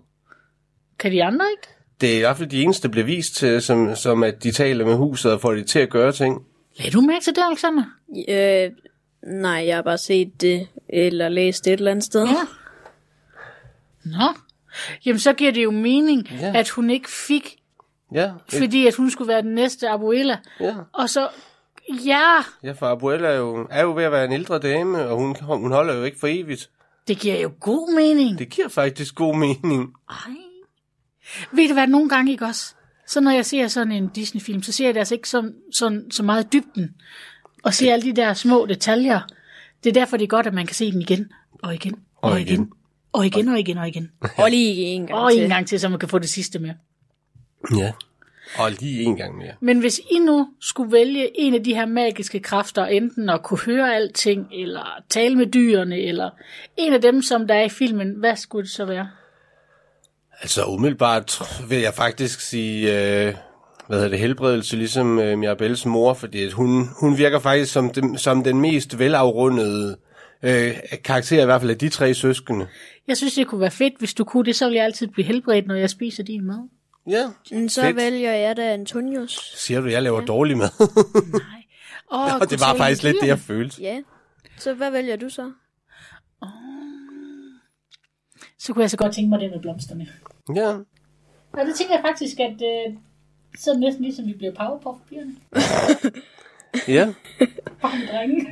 [SPEAKER 4] Kan de andre ikke?
[SPEAKER 3] Det er i hvert fald de eneste, der bliver vist til, som, som at de taler med huset og får det til at gøre ting.
[SPEAKER 4] Lad du mærke til det, Alexander?
[SPEAKER 5] Øh, nej, jeg har bare set det, eller læst det et eller andet sted.
[SPEAKER 4] Ja. Nå. Jamen, så giver det jo mening,
[SPEAKER 3] Ja.
[SPEAKER 4] ja. at hun ikke fik,
[SPEAKER 3] Ja, et,
[SPEAKER 4] fordi at hun skulle være den næste abuela.
[SPEAKER 3] ja.
[SPEAKER 4] Og så, ja,
[SPEAKER 3] ja for Abuela er jo, er jo ved at være en ældre dame, og hun, hun holder jo ikke for evigt.
[SPEAKER 4] det giver jo god mening.
[SPEAKER 3] Det giver faktisk god mening.
[SPEAKER 4] Ej. Ved du hvad, nogle gange ikke også? Så når jeg ser sådan en Disney-film, så ser jeg det altså ikke så, sådan, så meget i dybden. Og ser alle de der små detaljer. Det er derfor, det er godt, at man kan se den igen. Og igen. Og,
[SPEAKER 3] Og
[SPEAKER 4] og
[SPEAKER 3] igen.
[SPEAKER 4] igen. Og igen, og igen, og igen.
[SPEAKER 5] Og lige en gang
[SPEAKER 4] Og
[SPEAKER 5] til.
[SPEAKER 4] en gang til, så man kan få det sidste med.
[SPEAKER 3] Ja. Og lige en gang mere.
[SPEAKER 4] Men hvis I nu skulle vælge en af de her magiske kræfter, enten at kunne høre alting, eller tale med dyrene, eller en af dem, som der er i filmen, hvad skulle det så være?
[SPEAKER 3] Altså umiddelbart tr- vil jeg faktisk sige, øh, hvad hedder det, helbredelse, ligesom øh, Mirabelles mor, fordi at hun, hun virker faktisk som den, som den mest velafrundede øh, karakter, i hvert fald af de tre søskende.
[SPEAKER 4] Jeg synes, det kunne være fedt, hvis du kunne det, så ville jeg altid blive helbredt, når jeg spiser din mad.
[SPEAKER 3] Ja,
[SPEAKER 5] Men så
[SPEAKER 3] Fedt.
[SPEAKER 5] vælger jeg da Antonius.
[SPEAKER 3] siger du, jeg laver ja. dårlig mad.
[SPEAKER 4] Og,
[SPEAKER 3] Og det var faktisk lidt det, jeg følte.
[SPEAKER 5] Ja. Så hvad vælger du så?
[SPEAKER 4] Så kunne jeg så godt tænke mig det med blomsterne.
[SPEAKER 3] Ja.
[SPEAKER 4] Og det tænker jeg faktisk, at øh, så er det næsten ligesom vi bliver powerpuff-pigerne.
[SPEAKER 3] ja.
[SPEAKER 4] Bare en drenge.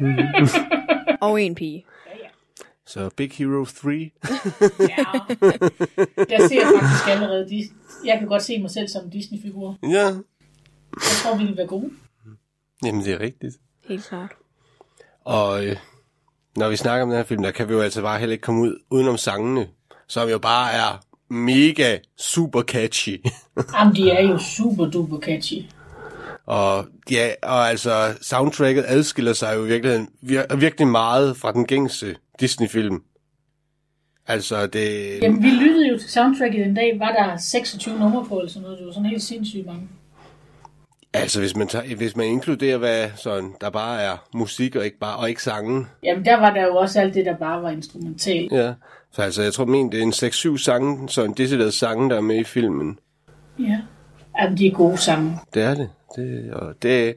[SPEAKER 5] Og en pige.
[SPEAKER 3] Så Big Hero 3.
[SPEAKER 4] Ja. Jeg ser faktisk allerede, de, jeg kan godt se mig selv som en Disney-figur.
[SPEAKER 3] Ja.
[SPEAKER 4] Jeg tror, vi ville være gode.
[SPEAKER 3] Jamen, det er rigtigt.
[SPEAKER 5] Helt klart.
[SPEAKER 3] Og øh, når vi snakker om den her film, der kan vi jo altså bare heller ikke komme ud udenom sangene, som jo bare er mega super catchy.
[SPEAKER 4] Jamen, de er jo super duper catchy.
[SPEAKER 3] Og ja, og altså soundtracket adskiller sig jo i virkeligheden vir- virkelig meget fra den gængse Disney-film. Altså det...
[SPEAKER 4] Jamen, vi lyttede jo til soundtracket den dag, var der 26 numre på, eller sådan noget. Det var sådan helt sindssygt mange.
[SPEAKER 3] Altså hvis man, tager, hvis man inkluderer, hvad sådan, der bare er musik og ikke, bare, og ikke sange.
[SPEAKER 4] Jamen, der var der jo også alt det, der bare var instrumentalt.
[SPEAKER 3] Ja. Så altså jeg tror men det er en 6-7 sange, sådan deciderede sange, der er med i filmen.
[SPEAKER 4] Ja. Jamen, de er gode sange.
[SPEAKER 3] Det er det. det og det,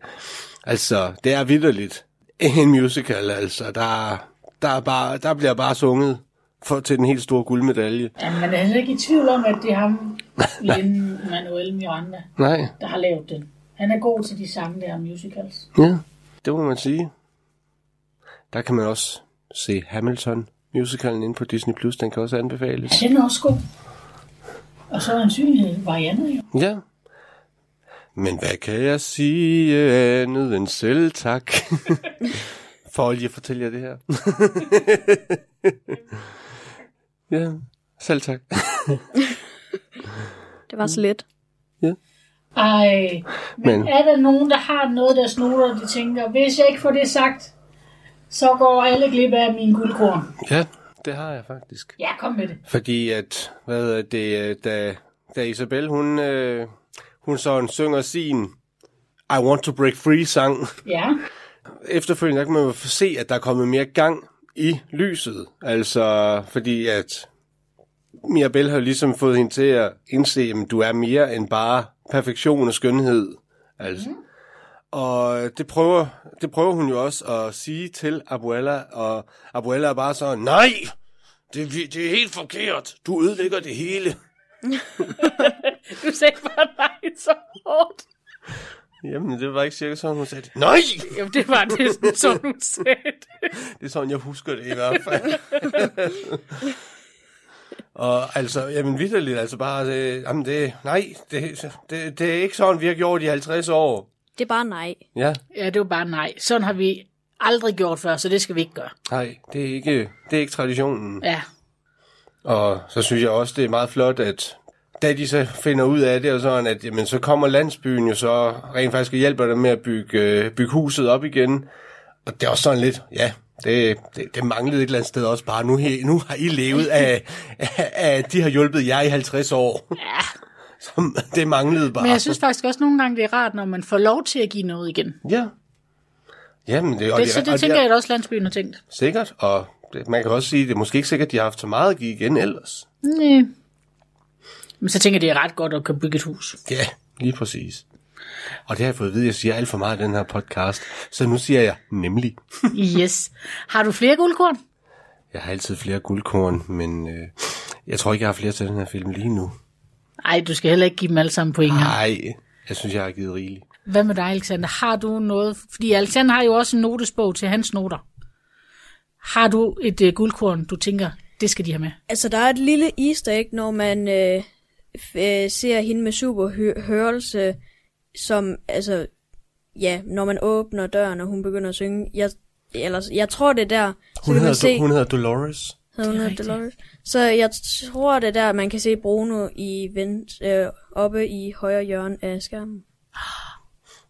[SPEAKER 3] altså, det er vidderligt. En musical, altså. Der, der, er bare, der bliver bare sunget for, til den helt store guldmedalje.
[SPEAKER 4] Jamen, man er heller ikke i tvivl om, at det er ham, Lin Manuel Miranda,
[SPEAKER 3] Nej,
[SPEAKER 4] der har lavet den. Han er god til de sange der musicals.
[SPEAKER 3] Ja, det må man sige. Der kan man også se Hamilton musicalen inde på Disney+. Plus. Den kan også anbefales.
[SPEAKER 4] Den er også god. Og så er han synlig Marianne jo.
[SPEAKER 3] Ja. Men hvad kan jeg sige andet end selv tak? For lige at fortælle jer det her. ja, selv tak.
[SPEAKER 5] Det var så let.
[SPEAKER 4] Ej, men,
[SPEAKER 3] Men-
[SPEAKER 4] men er der nogen, der har noget, der snoder, og de tænker, hvis jeg ikke får det sagt, så går alle glip af min guldkorn.
[SPEAKER 3] Ja, det har jeg faktisk.
[SPEAKER 4] Ja, kom med det.
[SPEAKER 3] Fordi at, hvad hedder det, øh, da, da Isabel, hun, øh, hun sådan synger sin I want to break free sang,
[SPEAKER 4] Ja,
[SPEAKER 3] efterfølgende der kan man jo se, at der er kommet mere gang i lyset. Altså, fordi at Mirabelle har jo ligesom fået hende til at indse, at du er mere end bare perfektion og skønhed. Altså. Mm. Og det prøver, det prøver hun jo også at sige til Abuela, og Abuela er bare så, nej, det, er vi- det er helt forkert, du ødelægger det hele.
[SPEAKER 4] du sagde bare nej så hårdt.
[SPEAKER 3] Jamen, det var ikke cirka sådan, hun sagde det. Nej!
[SPEAKER 4] Jamen, det var det, som du sagde
[SPEAKER 3] Det er sådan, jeg husker det i hvert fald. og altså, jamen vidderligt, altså bare, det, jamen det, nej, det, det, det er ikke sådan, vi har gjort i 50 år.
[SPEAKER 5] Det er bare nej.
[SPEAKER 3] Ja,
[SPEAKER 4] Ja, det var bare nej. Sådan har vi aldrig gjort før, så det skal vi ikke gøre.
[SPEAKER 3] nej, det er ikke, det er ikke traditionen.
[SPEAKER 4] Ja,
[SPEAKER 3] Og så synes jeg også, det er meget flot, at da de så finder ud af det, og sådan, at jamen, så kommer landsbyen jo så rent faktisk og hjælper dem med at bygge, øh, bygge huset op igen. Og det er også sådan lidt, ja, det, det, det manglede et eller andet sted også bare. Nu, he- nu har I levet af, af, af, de har hjulpet jer i 50 år. Ja. Så det manglede bare.
[SPEAKER 4] Men jeg synes faktisk også nogle gange, det er rart, når man får lov til at give noget igen.
[SPEAKER 3] Ja. Jamen, det, og
[SPEAKER 4] Det, så
[SPEAKER 3] og
[SPEAKER 4] det tænker jeg, at også landsbyen har tænkt.
[SPEAKER 3] Sikkert, og det, man kan også sige, det er måske ikke sikkert, at de har haft så meget at give igen ellers.
[SPEAKER 4] Nej. Men så tænker jeg, det er ret godt at kunne bygge et hus.
[SPEAKER 3] Ja, lige præcis. Og det har jeg fået at vide, at jeg siger alt for meget i den her podcast. Så nu siger jeg nemlig.
[SPEAKER 4] Yes. Har du flere guldkorn?
[SPEAKER 3] Jeg har altid flere guldkorn, men øh, jeg tror ikke, jeg har flere til den her film lige nu.
[SPEAKER 4] Nej, du skal heller ikke give dem alle sammen point her.
[SPEAKER 3] Nej, jeg synes, jeg har givet rigeligt.
[SPEAKER 4] Hvad med dig, Alexander? Har du noget? Fordi Alexander har jo også en notesbog til hans noter. Har du et øh, guldkorn, du tænker, det skal de have med?
[SPEAKER 5] Altså, der er et lille easter egg, når man øh, f- øh, ser hende med superhørelse, som, altså, ja, når man åbner døren, og hun begynder at synge. Jeg, ellers, jeg tror, det er der. Så
[SPEAKER 3] Hun
[SPEAKER 5] kan man
[SPEAKER 3] hedder,
[SPEAKER 5] se,
[SPEAKER 3] Do- hun hedder Dolores.
[SPEAKER 5] hedder hun
[SPEAKER 4] Det er
[SPEAKER 5] hedder
[SPEAKER 4] rigtigt.
[SPEAKER 5] Dolores. Så jeg tror, det er der, man kan se Bruno i vent, øh, oppe i højre hjørne af skærmen.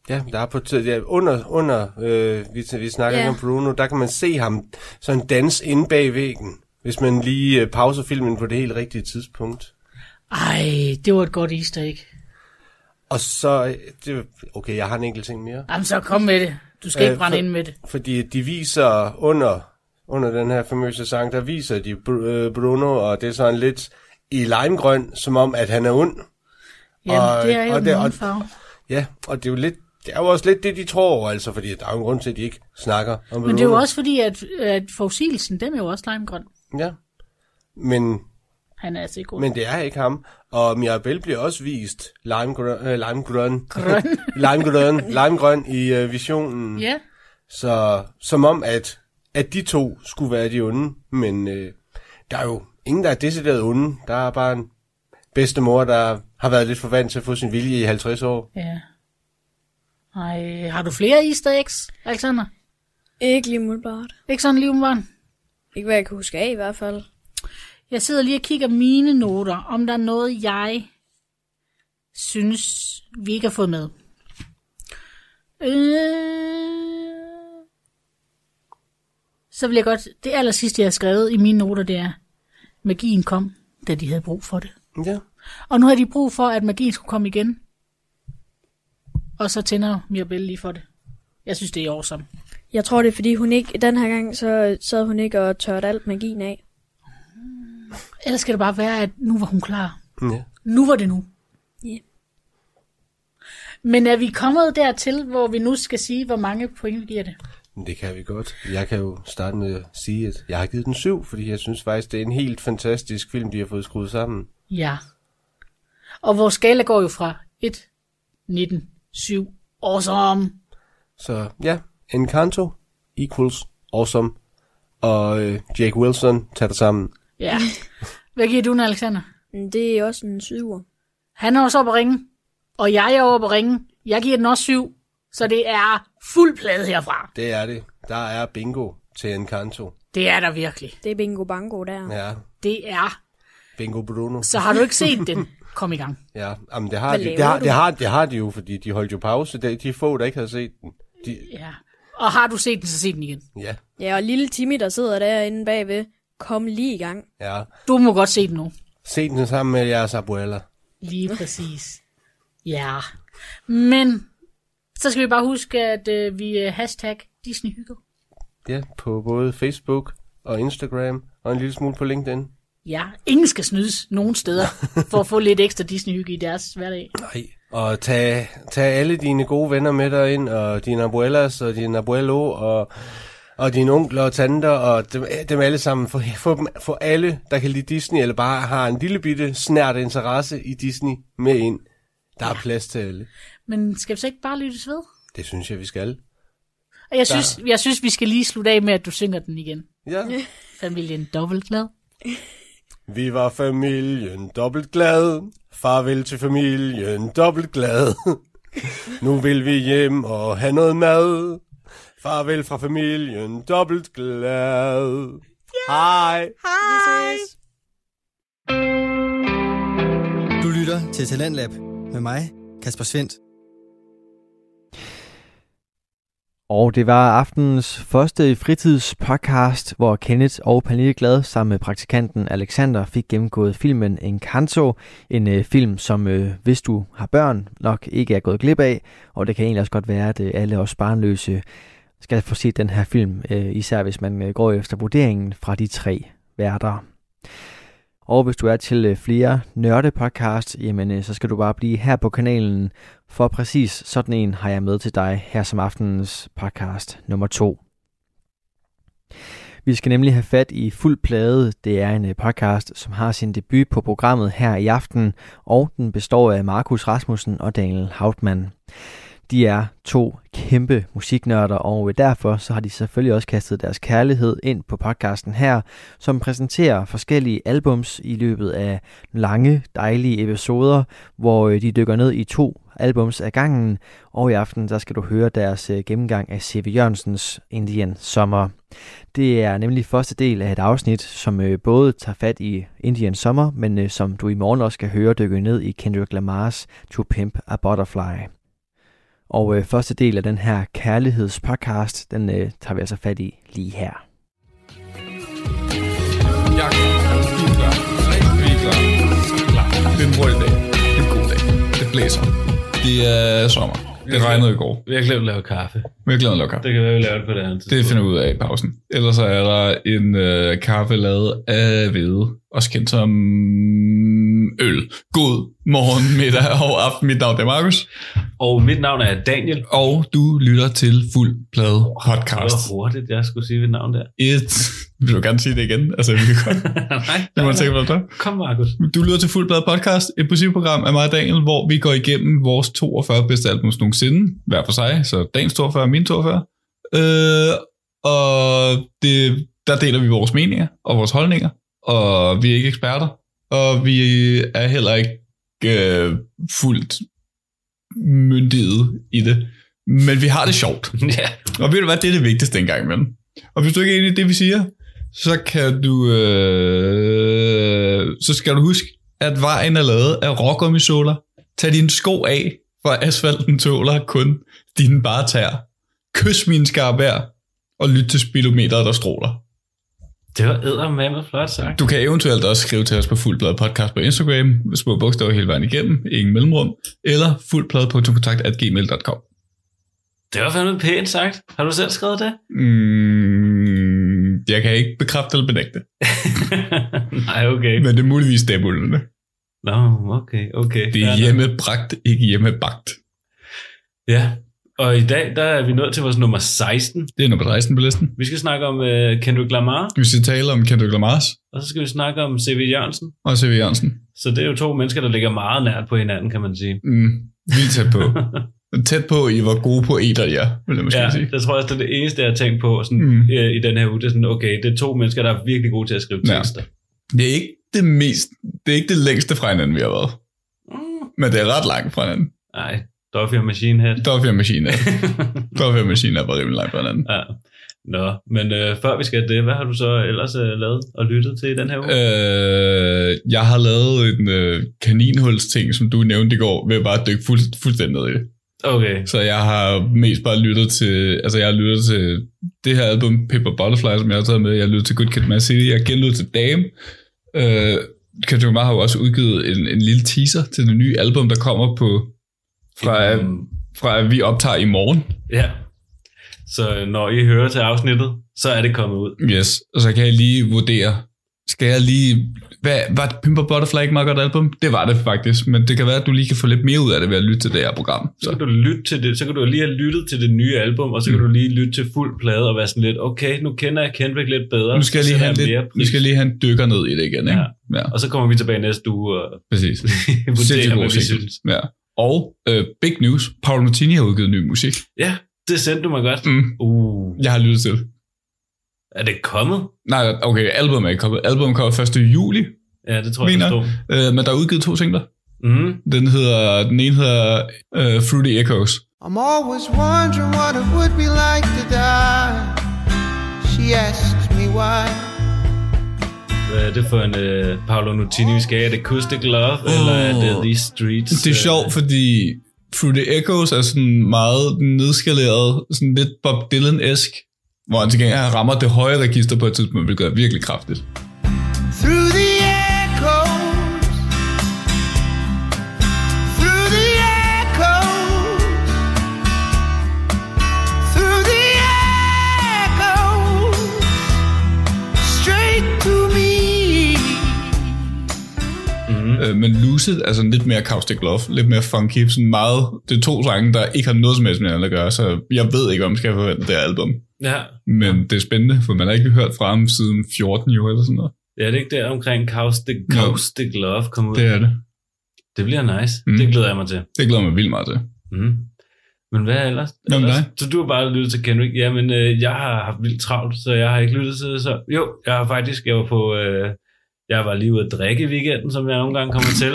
[SPEAKER 3] Ja, der er på t- ja, under, under øh, vi, vi snakker
[SPEAKER 5] Ja.
[SPEAKER 3] yeah. om Bruno, der kan man se ham sådan danse inde bag væggen, hvis man lige øh, pauser filmen på det helt rigtige tidspunkt.
[SPEAKER 4] Ej, det var et godt easter egg.
[SPEAKER 3] Og så, øh, det, okay, jeg har en enkelt ting mere.
[SPEAKER 4] Jamen så kom med det. Du skal øh, ikke brænde
[SPEAKER 3] for-
[SPEAKER 4] ind med det.
[SPEAKER 3] Fordi de viser under, under den her famøse sang, der viser de Br- øh, Bruno, og det er sådan lidt i limegrøn, som om, at han er ond.
[SPEAKER 4] Jamen,
[SPEAKER 3] og-
[SPEAKER 4] og, det er jo
[SPEAKER 3] og
[SPEAKER 4] og
[SPEAKER 3] det-
[SPEAKER 4] det,
[SPEAKER 3] og-
[SPEAKER 4] og, farve.
[SPEAKER 3] Ja, og det er jo lidt, det er jo også lidt det, de tror over, altså, fordi der er jo en grund til, at de ikke snakker om
[SPEAKER 4] Men det er
[SPEAKER 3] Bruno.
[SPEAKER 4] jo også fordi, at, at forudsigelsen, den er jo også limegrøn.
[SPEAKER 3] Ja, men
[SPEAKER 4] Han er altså ikke god.
[SPEAKER 3] Men det er ikke ham. Og Mirabelle bliver også vist limegrøn, øh, limegrøn, limegrøn, limegrøn i øh, visionen.
[SPEAKER 4] Ja,
[SPEAKER 3] Så som om, at, at de to skulle være de onde. Men øh, der er jo ingen, der er decideret onde. Der er bare en bedstemor, der har været lidt for vant til at få sin vilje i 50 år.
[SPEAKER 4] ja. Ej, har du flere easter eggs, Alexander?
[SPEAKER 5] Ikke lige umiddelbart.
[SPEAKER 4] Ikke sådan lige umiddelbart?
[SPEAKER 5] Ikke hvad jeg kan huske af i hvert fald.
[SPEAKER 4] Jeg sidder lige og kigger mine noter, om der er noget, jeg synes, vi ikke har fået med. Øh... Så vil jeg godt... Det aller sidste, jeg har skrevet i mine noter, det er, magien kom, da de havde brug for det.
[SPEAKER 3] Ja.
[SPEAKER 4] Og nu har de brug for, at magien skulle komme igen. Og så tænder Mirabelle lige for det. Jeg synes, det er awesome.
[SPEAKER 5] Jeg tror, det er, fordi hun ikke, den her gang, så sad hun ikke og tørte alt magien af.
[SPEAKER 4] Ellers skal det bare være, at nu var hun klar.
[SPEAKER 3] ja.
[SPEAKER 4] Nu var det nu.
[SPEAKER 5] Ja.
[SPEAKER 4] Men er vi kommet dertil, hvor vi nu skal sige, hvor mange point vi giver det?
[SPEAKER 3] Men Det kan vi godt. Jeg kan jo starte med at sige, at jeg har givet den syv, fordi jeg synes faktisk, det er en helt fantastisk film, de har fået skruet sammen.
[SPEAKER 4] Ja. Og vores skala går jo fra 1, 19, 7, awesome.
[SPEAKER 3] Så ja, Encanto equals awesome. Og øh, Jake Wilson tager det sammen.
[SPEAKER 4] Ja. Hvad giver du den, Alexander?
[SPEAKER 5] Men Det er også en syver.
[SPEAKER 4] Han er også oppe at ringe, og jeg er oppe at ringe. Jeg giver den også 7, så det er fuld plade herfra.
[SPEAKER 3] Det er det. Der er bingo til Encanto.
[SPEAKER 4] Det er der virkelig.
[SPEAKER 5] Det er bingo bango der.
[SPEAKER 3] Ja,
[SPEAKER 4] Det er.
[SPEAKER 3] bingo Bruno.
[SPEAKER 4] Så har du ikke set den? Kom i gang.
[SPEAKER 3] Ja, jamen, det, har
[SPEAKER 5] Hvad
[SPEAKER 3] de, det,
[SPEAKER 5] laver
[SPEAKER 3] har,
[SPEAKER 5] du?
[SPEAKER 3] det, har, det har de jo, fordi de holdt jo pause. De, de få, der ikke havde set den. De,
[SPEAKER 4] Ja. Og har du set den, så se den igen.
[SPEAKER 3] ja,
[SPEAKER 5] Ja, og lille Timmy, der sidder derinde bagved, kom lige i gang.
[SPEAKER 3] ja.
[SPEAKER 4] Du må godt se den nu.
[SPEAKER 3] Se den sammen med jeres abuela.
[SPEAKER 4] Lige præcis. Ja. Men så skal vi bare huske, at øh, vi øh, hashtag Disney hygger.
[SPEAKER 3] Ja, på både Facebook og Instagram og en lille smule på LinkedIn.
[SPEAKER 4] Ja, ingen skal snydes nogen steder for at få lidt ekstra Disney hygge i deres hverdag.
[SPEAKER 3] Nej. Og tag, tag alle dine gode venner med dig ind, og dine abuelas, og dine abuelo, og, og dine onkler og tanter, og dem, dem alle sammen. Få, få, dem, få alle, der kan lide Disney, eller bare har en lille bitte snært interesse i Disney, med ind. Der er plads til alle.
[SPEAKER 4] Men skal vi så ikke bare lyttes ved?
[SPEAKER 3] Det synes jeg, vi skal.
[SPEAKER 4] Og jeg synes, jeg synes, vi skal lige slutte af med, at du synger den igen.
[SPEAKER 3] Ja.
[SPEAKER 4] Familien dobbelt glad.
[SPEAKER 3] Vi var familien dobbelt glad. Farvel til familien dobbelt glad. Nu vil vi hjem og have noget mad. Farvel fra familien dobbelt glad. Hej.
[SPEAKER 5] Hej!
[SPEAKER 1] Du Du lytter til Talentlab med mig, Kasper Svendt.
[SPEAKER 2] Og det var aftenens første fritidspodcast, hvor Kenneth og Pernille Glad sammen med praktikanten Alexander fik gennemgået filmen Encanto. En øh, film, som øh, hvis du har børn, nok ikke er gået glip af. Og det kan egentlig også godt være, at øh, alle os barnløse skal få set den her film, øh, især hvis man øh, går efter vurderingen fra de tre værter. Og hvis du er til øh, flere nørdepodcast, jamen øh, så skal du bare blive her på kanalen, for præcis sådan en har jeg med til dig her som aftenens podcast nummer to. Vi skal nemlig have fat i Fuld Plade. Det er en øh, podcast, som har sin debut på programmet her i aften, og den består af Markus Rasmussen og Daniel Hautmann. De er to kæmpe musiknørder, og øh, derfor så har de selvfølgelig også kastet deres kærlighed ind på podcasten her, som præsenterer forskellige albums i løbet af lange, dejlige episoder, hvor øh, de dykker ned i to albums ad gangen, og i aften der skal du høre deres øh, gennemgang af C.V. Jørgensens Indian Sommer. Det er nemlig første del af et afsnit, som øh, både tager fat i Indian Sommer, men øh, som du i morgen også skal høre dykke ned i Kendrick Lamar's To Pimp a Butterfly. Og øh, første del af den her kærlighedspodcast, den øh, tager vi altså fat i lige her.
[SPEAKER 6] Jeg er ligeglad. Rigtig glad. Klar. Det er en hurtig dag. Det er en god dag. Det blæser. Det er sommer. Det regnede i går.
[SPEAKER 7] Vi har glemt at lave kaffe.
[SPEAKER 6] Men jeg glæder mig lukker.
[SPEAKER 7] Det kan være, vi laver det på det andet
[SPEAKER 6] Det finder vi ud af i pausen. Ellers så er der en øh, kaffe lavet af hvede, også kendt som øl. God morgen, middag og aften. Mit navn er Markus,
[SPEAKER 7] Og mit navn er Daniel.
[SPEAKER 6] og du lytter til Fuld Plade
[SPEAKER 7] Det
[SPEAKER 6] Podcast.
[SPEAKER 7] var hurtigt, jeg skulle sige mit navn der.
[SPEAKER 6] Et. Vil du gerne sige det igen? Altså, vi kan godt.
[SPEAKER 7] nej,
[SPEAKER 6] Du må tænke på det.
[SPEAKER 7] Kom, Markus.
[SPEAKER 6] Du lytter til Fuldblad Podcast, et principprogram af mig og Daniel, hvor vi går igennem vores 42 bedste albums nogensinde, hver for sig, så dagens 42 og min 42. Øh, og det, der deler vi vores meninger og vores holdninger, og vi er ikke eksperter, og vi er heller ikke øh, fuldt myndighed i det. Men vi har det sjovt.
[SPEAKER 7] ja.
[SPEAKER 6] Og ved du hvad, det er det vigtigste engang imellem. Og hvis du ikke er enig i det, vi siger, så kan du... Øh, så skal du huske, at vejen er lavet af rågummisåler. Tag dine sko af, for asfalten tåler kun dine bare tær. Kys min skarbær, og lyt til speedometeret, der stråler.
[SPEAKER 7] Det var eddermame flot sagt.
[SPEAKER 6] Du kan eventuelt også skrive til os på Fuldblad Podcast på Instagram, med små bogstaver hele vejen igennem, ingen mellemrum, eller fuldblad.kontakt.gmail.com.
[SPEAKER 7] Det var fandme pænt sagt. Har du selv skrevet det?
[SPEAKER 6] Mm, jeg kan ikke bekræfte eller benægte.
[SPEAKER 7] nej, okay.
[SPEAKER 6] Men det er muligvis stemulene.
[SPEAKER 7] Nå, okay, okay.
[SPEAKER 6] Det
[SPEAKER 7] Ja,
[SPEAKER 6] er
[SPEAKER 7] nej.
[SPEAKER 6] hjemmebragt, ikke hjemmebagt.
[SPEAKER 7] Ja. Og i dag, der er vi nået til vores nummer 16.
[SPEAKER 6] Det er nummer 16 på listen.
[SPEAKER 7] Vi skal snakke om uh, Kendrick Lamar,
[SPEAKER 6] Vi skal tale om Kendrick Lamars
[SPEAKER 7] og så skal vi snakke om C.V. Jørgensen.
[SPEAKER 6] og C.V. Jørgensen.
[SPEAKER 7] Så det er jo to mennesker, der ligger meget nært på hinanden, kan man sige.
[SPEAKER 6] Mm, vildt tæt på. tæt på, I var gode poeter, ja, vil jeg måske
[SPEAKER 7] Ja,
[SPEAKER 6] ja, sige.
[SPEAKER 7] det tror jeg også, det er det eneste, jeg har tænkt på sådan,
[SPEAKER 6] Mm.
[SPEAKER 7] mm. øh, i den her uge. Det er sådan, okay, det er to mennesker, der er virkelig gode til at skrive
[SPEAKER 6] Ja.
[SPEAKER 7] tekster.
[SPEAKER 6] Det er ikke det mest, det er ikke det længste fra hinanden, vi har været. Men det er ret langt fra hinanden.
[SPEAKER 7] Nej, Duffy og Machine Head.
[SPEAKER 6] Dolphy og Machine Head. Dolphy og Machine Head var rimelig langt fra hinanden.
[SPEAKER 7] ja. Nå, men øh, før vi skal det, hvad har du så ellers øh, lavet og lyttet til i den her uge? Øh.
[SPEAKER 6] Øh, jeg har lavet en øh, kaninhulsting, som du nævnte i går, ved bare at dykke fuld, fuldstændig ned i det.
[SPEAKER 7] Okay,
[SPEAKER 6] Så jeg har mest bare lyttet til, altså jeg har lyttet til det her album, Paper Butterfly, som jeg har taget med. Jeg har lyttet til Good Kid, Mad City. Jeg har genlyttet til Dame. Øh, Kendrick Lamar har jo også udgivet en, en lille teaser til det nye album, der kommer på, fra, øh,
[SPEAKER 7] Mm.
[SPEAKER 6] fra at vi optager i morgen.
[SPEAKER 7] ja. Så øh, når I hører til afsnittet, så er det kommet ud.
[SPEAKER 6] Yes, og så kan jeg lige vurdere, skal jeg lige, hvad, var Pimper Butterfly ikke meget godt album? Det var det faktisk, men det kan være, at du lige kan få lidt mere ud af det ved at lytte til det her program.
[SPEAKER 7] Så kan
[SPEAKER 6] Så, Mm.
[SPEAKER 7] du lytte til det, så kan du lige have lyttet til det nye album, og så kan du lige lytte til fuld plade og være sådan lidt, okay, nu kender jeg Kendrick lidt bedre.
[SPEAKER 6] nu skal jeg
[SPEAKER 7] så
[SPEAKER 6] lige have, en
[SPEAKER 7] sætter jeg mere
[SPEAKER 6] lidt, nu
[SPEAKER 7] pris.
[SPEAKER 6] skal jeg lige have en dykker ned i det igen, ikke? Ja, ja
[SPEAKER 7] Og så kommer vi tilbage næste uge og
[SPEAKER 6] præcis.
[SPEAKER 7] vurderer,
[SPEAKER 6] Sindssygt
[SPEAKER 7] hvad
[SPEAKER 6] god
[SPEAKER 7] vi
[SPEAKER 6] single.
[SPEAKER 7] synes.
[SPEAKER 6] Ja. Og øh, big news, Paolo Martini har udgivet ny musik.
[SPEAKER 7] Ja, det sendte du mig godt.
[SPEAKER 6] Mm.
[SPEAKER 7] Uh,
[SPEAKER 6] Jeg har lyttet til det.
[SPEAKER 7] er det kommet?
[SPEAKER 6] Nej, okay, album er ikke kommet. Album kommer 1. juli,
[SPEAKER 7] Ja, det tror jeg,
[SPEAKER 6] Mener.
[SPEAKER 7] jeg forstår.
[SPEAKER 6] øh, men der er udgivet to singler.
[SPEAKER 7] Mm.
[SPEAKER 6] Den, hedder, den ene hedder øh, Fruity Echoes.
[SPEAKER 8] I'm always wondering what it would be like to die. She asks me why.
[SPEAKER 7] Hvad, er det for en uh, Paolo Nutini, vi skal have? Er det Acoustic Love, oh. eller er det These Streets? øh?
[SPEAKER 6] Det er sjovt, fordi Through the Echoes er sådan meget nedskaleret, sådan lidt Bob Dylan-esk, hvor han til gengæld rammer det høje register på et tidspunkt, hvilket er virkelig kraftigt.
[SPEAKER 8] Through the echoes, through the echoes, through the echoes, straight to me.
[SPEAKER 7] Mm.
[SPEAKER 6] Øh, men Lucid er sådan lidt mere caustic love, lidt mere funky, sådan meget, det er to sange, der ikke har noget som helst med hinanden at gøre, så jeg ved ikke, om jeg skal forvente det her album.
[SPEAKER 7] Ja.
[SPEAKER 6] Men det er spændende, for man har ikke hørt fra ham siden 14 jo, eller sådan noget.
[SPEAKER 7] ja, det er ikke der omkring Caustic, Caustic Love kom ud.
[SPEAKER 6] Det er det.
[SPEAKER 7] det bliver nice.
[SPEAKER 6] Mm.
[SPEAKER 7] Mm. Det glæder jeg mig til.
[SPEAKER 6] Det glæder jeg mig vildt meget til.
[SPEAKER 7] Mm. Men hvad ellers?
[SPEAKER 6] Hvad med
[SPEAKER 7] ellers?
[SPEAKER 6] dig?
[SPEAKER 7] Altså, Så du har bare lyttet til Kendrick. Jamen, øh, jeg har haft vildt travlt, så jeg har ikke lyttet til det. Så. Jo, jeg har faktisk, jeg var på, øh, jeg var lige ude at drikke i weekenden, som jeg nogle gange kommer til.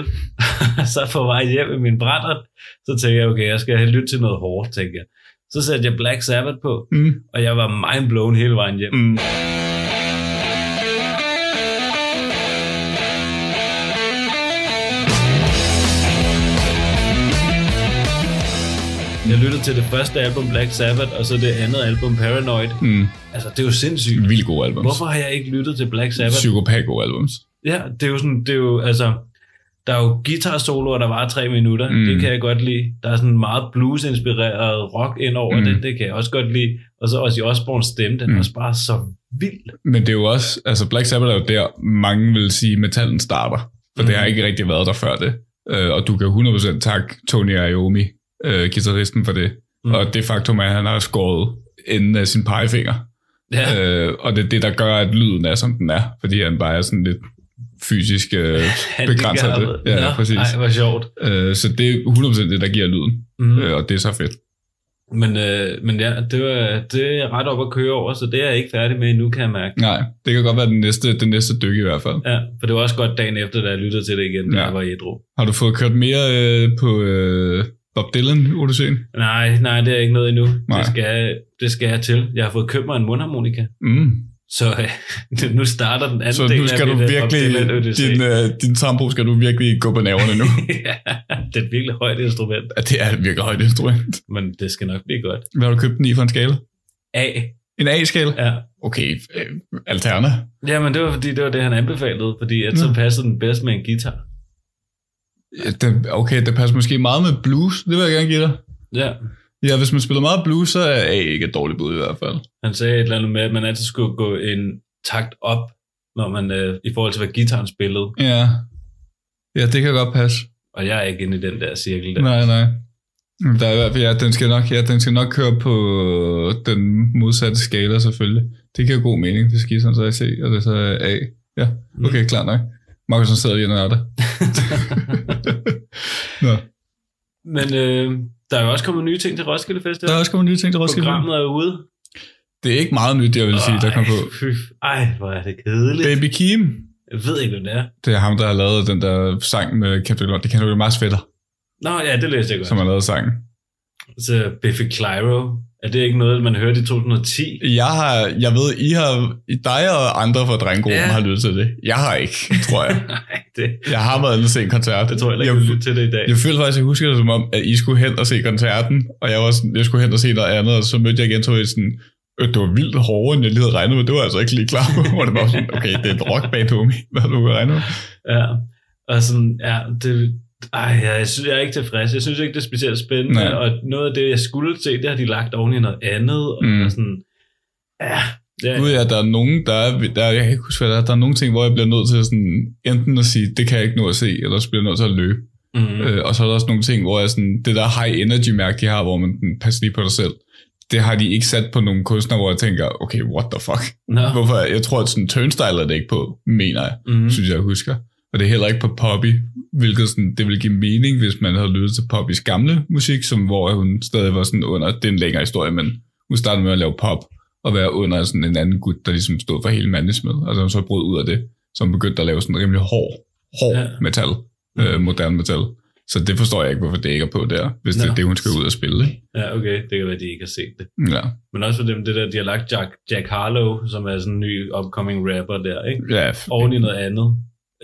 [SPEAKER 7] så på vej hjem med min brændert, så tænkte jeg, okay, jeg skal have lyttet til noget hårdt, tænker jeg. Så satte jeg Black Sabbath på,
[SPEAKER 6] Mm.
[SPEAKER 7] og jeg var mind blown hele vejen hjem.
[SPEAKER 6] Mm.
[SPEAKER 7] Jeg lyttede til det første album, Black Sabbath, og så det andet album, Paranoid.
[SPEAKER 6] Mm.
[SPEAKER 7] Altså, det er jo sindssygt.
[SPEAKER 6] Vildt gode albums.
[SPEAKER 7] Hvorfor har jeg ikke lyttet til Black Sabbath?
[SPEAKER 6] Psykopat gode albums.
[SPEAKER 7] Ja, det er jo sådan, det er jo, altså, der er jo guitar-soloer, der varer tre minutter.
[SPEAKER 6] Mm.
[SPEAKER 7] Mm. Det kan jeg godt lide. Der er sådan meget blues-inspireret rock ind over
[SPEAKER 6] Mm.
[SPEAKER 7] mm. det. Det kan jeg også godt lide. Og så også i Osborns stemme, den
[SPEAKER 6] Mm.
[SPEAKER 7] er også bare så vild.
[SPEAKER 6] Men det er jo også, altså Black Sabbath er jo der, mange vil sige, metallen starter. For mm.
[SPEAKER 7] Mhm.
[SPEAKER 6] det har ikke rigtig været der før det. Øh, og du kan 100% takke Tony Iommi, øh, guitaristen, for det. Mm.
[SPEAKER 7] Mm.
[SPEAKER 6] Og det faktum er, at han har skåret enden af sin pegefinger.
[SPEAKER 7] Ja, øh.
[SPEAKER 6] Øh, og det er det, der gør, at lyden er, som den er. Fordi han bare er sådan lidt fysisk øh, begrænset af det. Ja,
[SPEAKER 7] Nå,
[SPEAKER 6] ja præcis.
[SPEAKER 7] Ej, hvor sjovt.
[SPEAKER 6] Øh, så det er 100% det, der giver lyden.
[SPEAKER 7] Mm.
[SPEAKER 6] Mm. Øh, og det er så fedt.
[SPEAKER 7] Men, øh, men ja, det, var, det er jeg ret op at køre over, så det er jeg ikke færdig med endnu, kan jeg mærke.
[SPEAKER 6] Nej, det kan godt være den næste, den næste dyk i hvert fald.
[SPEAKER 7] Ja, for det var også godt dagen efter, da jeg lyttede til det igen, da
[SPEAKER 6] Ja.
[SPEAKER 7] ja. jeg var ædru.
[SPEAKER 6] Har du fået kørt mere øh, på øh, Bob Dylan, Odysseen?
[SPEAKER 7] Nej, nej, det er ikke noget endnu.
[SPEAKER 6] Nej.
[SPEAKER 7] Det skal, det skal jeg til. Jeg har fået købt mig en mundharmonika.
[SPEAKER 6] Mm.
[SPEAKER 7] Så øh, nu starter den anden
[SPEAKER 6] Så
[SPEAKER 7] del
[SPEAKER 6] nu skal
[SPEAKER 7] af
[SPEAKER 6] du
[SPEAKER 7] mit, øh,
[SPEAKER 6] virkelig,
[SPEAKER 7] Bob Dylan-odyssé.
[SPEAKER 6] din, øh, din sambo skal du virkelig gå på naverne nu.
[SPEAKER 7] ja, det er et virkelig højt instrument,
[SPEAKER 6] ja, det er et virkelig højt instrument.
[SPEAKER 7] men det skal nok blive godt.
[SPEAKER 6] Hvad har du købt den i for en skala?
[SPEAKER 7] A.
[SPEAKER 6] En A-skala?
[SPEAKER 7] Ja.
[SPEAKER 6] Okay, øh, Alterna.
[SPEAKER 7] Jamen, det var fordi, det var det, han anbefalede, fordi at så
[SPEAKER 6] Nå.
[SPEAKER 7] passede den bedst med en guitar.
[SPEAKER 6] Ja, det- Okay, det passer måske meget med blues, det vil jeg gerne give dig.
[SPEAKER 7] Ja.
[SPEAKER 6] Ja, hvis man spiller meget blues, så er A ikke et dårligt bud i hvert fald.
[SPEAKER 7] Han sagde et eller andet med, at man altid skulle gå en takt op, når man, øh, i forhold til, hvad gitaren spillede.
[SPEAKER 6] Ja, ja det kan godt passe.
[SPEAKER 7] Og jeg er ikke inde i den der cirkel der.
[SPEAKER 6] Nej, nej. Der er i hvert fald, ja, den skal nok, ja, den skal nok køre på den modsatte skala selvfølgelig. Det giver god mening, det skal I sådan så jeg se, og det er så A. Ja,
[SPEAKER 7] Mm.
[SPEAKER 6] okay, klar nok. Markus, han sidder lige og nørder. Nå,
[SPEAKER 7] Men øh, der er jo også kommet nye ting til Roskilde Festival.
[SPEAKER 6] der er også kommet nye ting til Roskilde.
[SPEAKER 7] Programmet er ude.
[SPEAKER 6] Det er ikke meget nyt, jeg vil sige, der kom på.
[SPEAKER 7] Ej, fy, ej, hvor er det kedeligt.
[SPEAKER 6] Baby Kim.
[SPEAKER 7] Jeg ved ikke, hvem det er.
[SPEAKER 6] Det er ham, der har lavet den der sang med Captain Lund. Det kan du jo meget fætter,
[SPEAKER 7] Nå, ja, det læste jeg godt.
[SPEAKER 6] som har lavet sangen.
[SPEAKER 7] Så Biffy Clyro. Er det ikke noget, man hørte i 2010?
[SPEAKER 6] Jeg har, jeg ved, I har, dig og andre fra drengegruppen
[SPEAKER 7] Ja.
[SPEAKER 6] har lyttet til det. Jeg har ikke, tror jeg.
[SPEAKER 7] Nej, det,
[SPEAKER 6] Jeg har været inde og se en koncert.
[SPEAKER 7] det tror jeg heller ikke,
[SPEAKER 6] jeg,
[SPEAKER 7] jeg vil lytte til det i dag.
[SPEAKER 6] jeg følte faktisk, at jeg husker det som om, at I skulle hen og se koncerten, og jeg, var sådan, jeg skulle hen og se noget andet, og så mødte jeg igen, så var jeg sådan, øh, det var vildt hårdere, end jeg lige havde regnet med. Det var jeg altså ikke lige klar på, hvor det var sådan, okay, det er et rockband, homie. Hvad havde du regnet med?
[SPEAKER 7] Ja. Og sådan, ja, det, ej, ja, jeg, synes, jeg er ikke tilfreds. Jeg synes ikke, det er specielt spændende.
[SPEAKER 6] Nej.
[SPEAKER 7] Og noget af det, jeg skulle se, det har de lagt oven i noget andet. Og
[SPEAKER 6] Mm.
[SPEAKER 7] mm. sådan, ja, ja,
[SPEAKER 6] Nu er der er nogen, der er, der, jeg kan ikke huske, hvad der er, der er nogle ting, hvor jeg bliver nødt til sådan, enten at sige, det kan jeg ikke nå at se, eller så bliver jeg nødt til at løbe.
[SPEAKER 7] mm,
[SPEAKER 6] Øh, og så er der også nogle ting, hvor jeg sådan, det der high energy mærke, de har, hvor man sådan, pas lige på dig selv, det har de ikke sat på nogle kunstnere, hvor jeg tænker, okay, what the fuck?
[SPEAKER 7] nå,
[SPEAKER 6] Hvorfor? Jeg tror, at sådan turnstyle er det ikke på, mener jeg, mm.
[SPEAKER 7] mm,
[SPEAKER 6] synes jeg, jeg husker. Og det er heller ikke på Poppy, hvilket sådan, det ville give mening, hvis man havde lyttet til Poppys gamle musik, som, hvor hun stadig var sådan under, det er en længere historie, men hun startede med at lave pop, og være under sådan en anden gut, der ligesom stod for hele management, og som så brød ud af det, som begyndte at lave sådan rimelig hård, hård ja.
[SPEAKER 7] Ja. Mm.
[SPEAKER 6] metal, øh, moderne metal. Så det forstår jeg ikke, hvorfor det ikke er på der, hvis det
[SPEAKER 7] Nå.
[SPEAKER 6] er det, hun skal ud og spille. ikke?
[SPEAKER 7] Ja, okay. Det kan være, de ikke har set det.
[SPEAKER 6] Ja,
[SPEAKER 7] Men også for dem, det der, de har lagt Jack, Jack Harlow, som er sådan en ny upcoming rapper der, ikke?
[SPEAKER 6] ja
[SPEAKER 7] Oven i noget andet.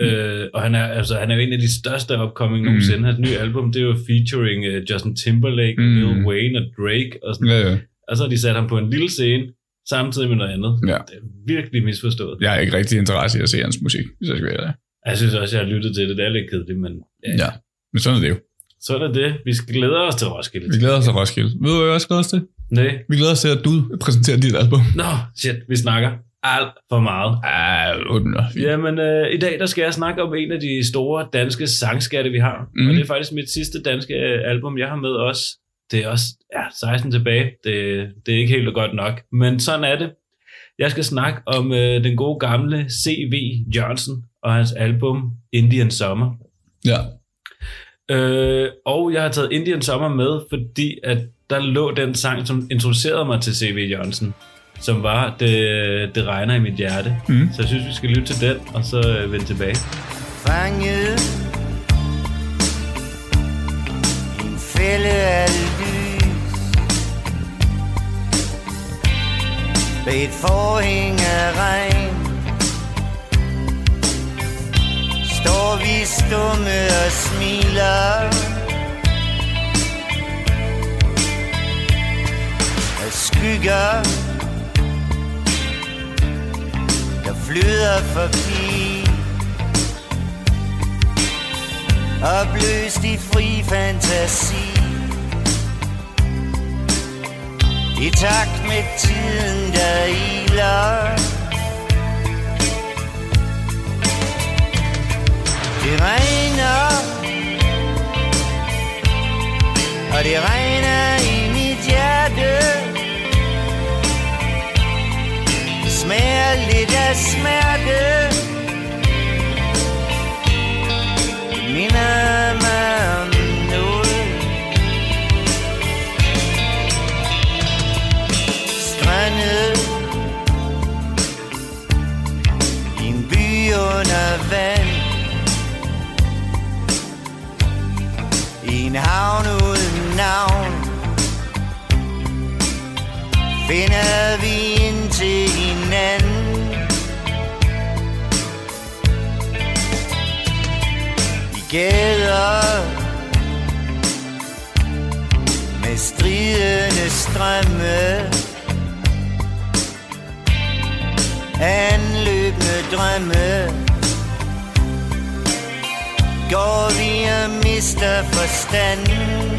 [SPEAKER 7] Mm. Øh, og han er, altså, han er jo en af de største upcoming mm. nogensinde. Hans nye album, det er jo featuring uh, Justin Timberlake, mm.
[SPEAKER 6] Mm.
[SPEAKER 7] Lil Wayne og Drake. Og, sådan.
[SPEAKER 6] ja, ja.
[SPEAKER 7] og så har de sat ham på en lille scene, samtidig med noget andet.
[SPEAKER 6] Ja.
[SPEAKER 7] Det er virkelig misforstået.
[SPEAKER 6] Jeg har ikke rigtig interesse i at se hans musik, hvis jeg skal være ærlig.
[SPEAKER 7] Jeg synes også, jeg har lyttet til det. Det er lidt kedeligt, men ja.
[SPEAKER 6] Ja. Men sådan er det jo.
[SPEAKER 7] så er det det. Vi skal glæde os til Roskilde.
[SPEAKER 6] Vi glæder os til Roskilde. Ved du, hvad vi også glæder os til?
[SPEAKER 7] Nej.
[SPEAKER 6] Vi glæder os til, at du præsenterer dit album.
[SPEAKER 7] Nå, shit, vi snakker alt for meget.
[SPEAKER 6] Ah, under.
[SPEAKER 7] Jamen, øh, i dag der skal jeg snakke om en af de store danske sangskatte, vi har. Mm.
[SPEAKER 6] Mhm.
[SPEAKER 7] Og det er faktisk mit sidste danske øh, album, jeg har med os. Det er også ja, 16 tilbage. Det, det er ikke helt godt nok, men sådan er det. Jeg skal snakke om øh, den gode gamle C.V. Jørgensen og hans album Indian Summer.
[SPEAKER 6] Ja.
[SPEAKER 7] Øh, og jeg har taget Indian Summer med, fordi at der lå den sang, som introducerede mig til C.V. Jørgensen, som var Det, det regner i mit hjerte.
[SPEAKER 6] Mm.
[SPEAKER 7] Så jeg synes, vi skal lytte til den, og så øh, vende tilbage.
[SPEAKER 8] fanget i en fælde af lys ved et forhæng af regn står vi stumme og smiler af skygger der flyder forbi Opløst i fri fantasi I takt med tiden, der iler Det regner Og det regner i mit hjerte Det smager lidt af smerte minder mig om noget Strandet I en by under vand I en havn uden navn Finder vi ind til hinanden de gader Med stridende strømme Anløbende drømme Går vi og mister forstanden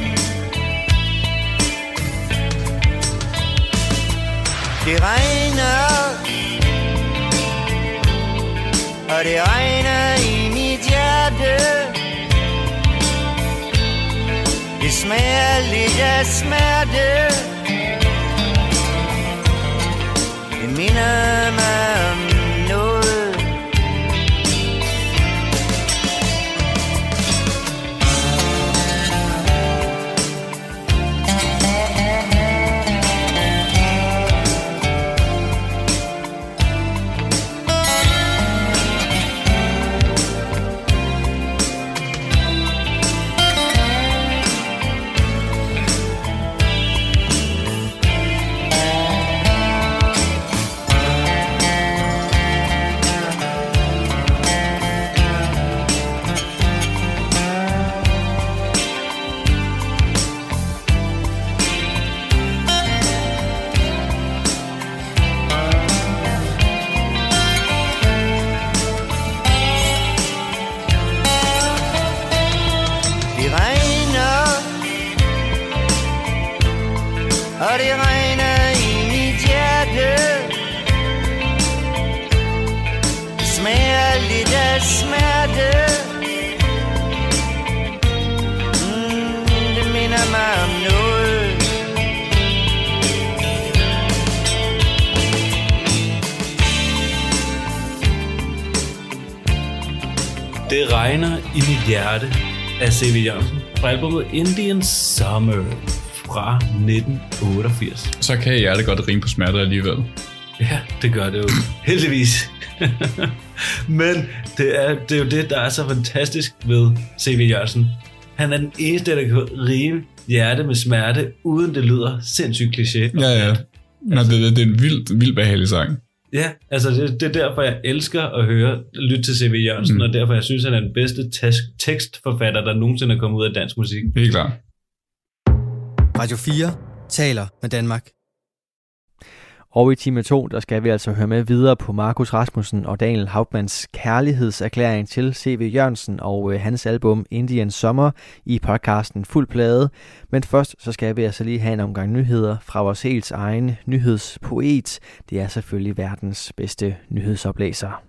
[SPEAKER 8] Det regner og det regner i mit hjerte Det smager lidt af smerte Det minder mig om noget Det regner Og det regner i mit hjerte Det smager lidt af smerte mm, Det minder mig om noget
[SPEAKER 7] Det regner i mit hjerte af C.V. Jørgensen fra albumet Indian Summer fra 1988.
[SPEAKER 6] Så kan jeg hjertet godt rime på smerter alligevel.
[SPEAKER 7] Ja, det gør det jo. Heldigvis. Men det er, det er jo det, der er så fantastisk ved C.V. Jørgensen. Han er den eneste, der kan rive hjerte med smerte, uden det lyder sindssygt kliché. og
[SPEAKER 6] Ja, ja.
[SPEAKER 7] plat.
[SPEAKER 6] Nå, det, det, det er en vildt, vildt behagelig sang.
[SPEAKER 7] Ja, altså det, det er derfor, jeg elsker at høre, lytte til C.V. Jørgensen,
[SPEAKER 6] Mm.
[SPEAKER 7] mm. og derfor, jeg synes, han er den bedste tes- tekstforfatter, der nogensinde er kommet ud af dansk musik.
[SPEAKER 6] Helt klart.
[SPEAKER 1] Radio 4 taler med Danmark.
[SPEAKER 2] Og i time 2, der skal vi altså høre med videre på Markus Rasmussen og Daniel Hauptmanns kærlighedserklæring til C.V. Jørgensen og øh, hans album Indian Sommer i podcasten Fuld Plade. Men først så skal vi altså lige have en omgang nyheder fra vores helt egen nyhedspoet. Det er selvfølgelig verdens bedste nyhedsoplæser.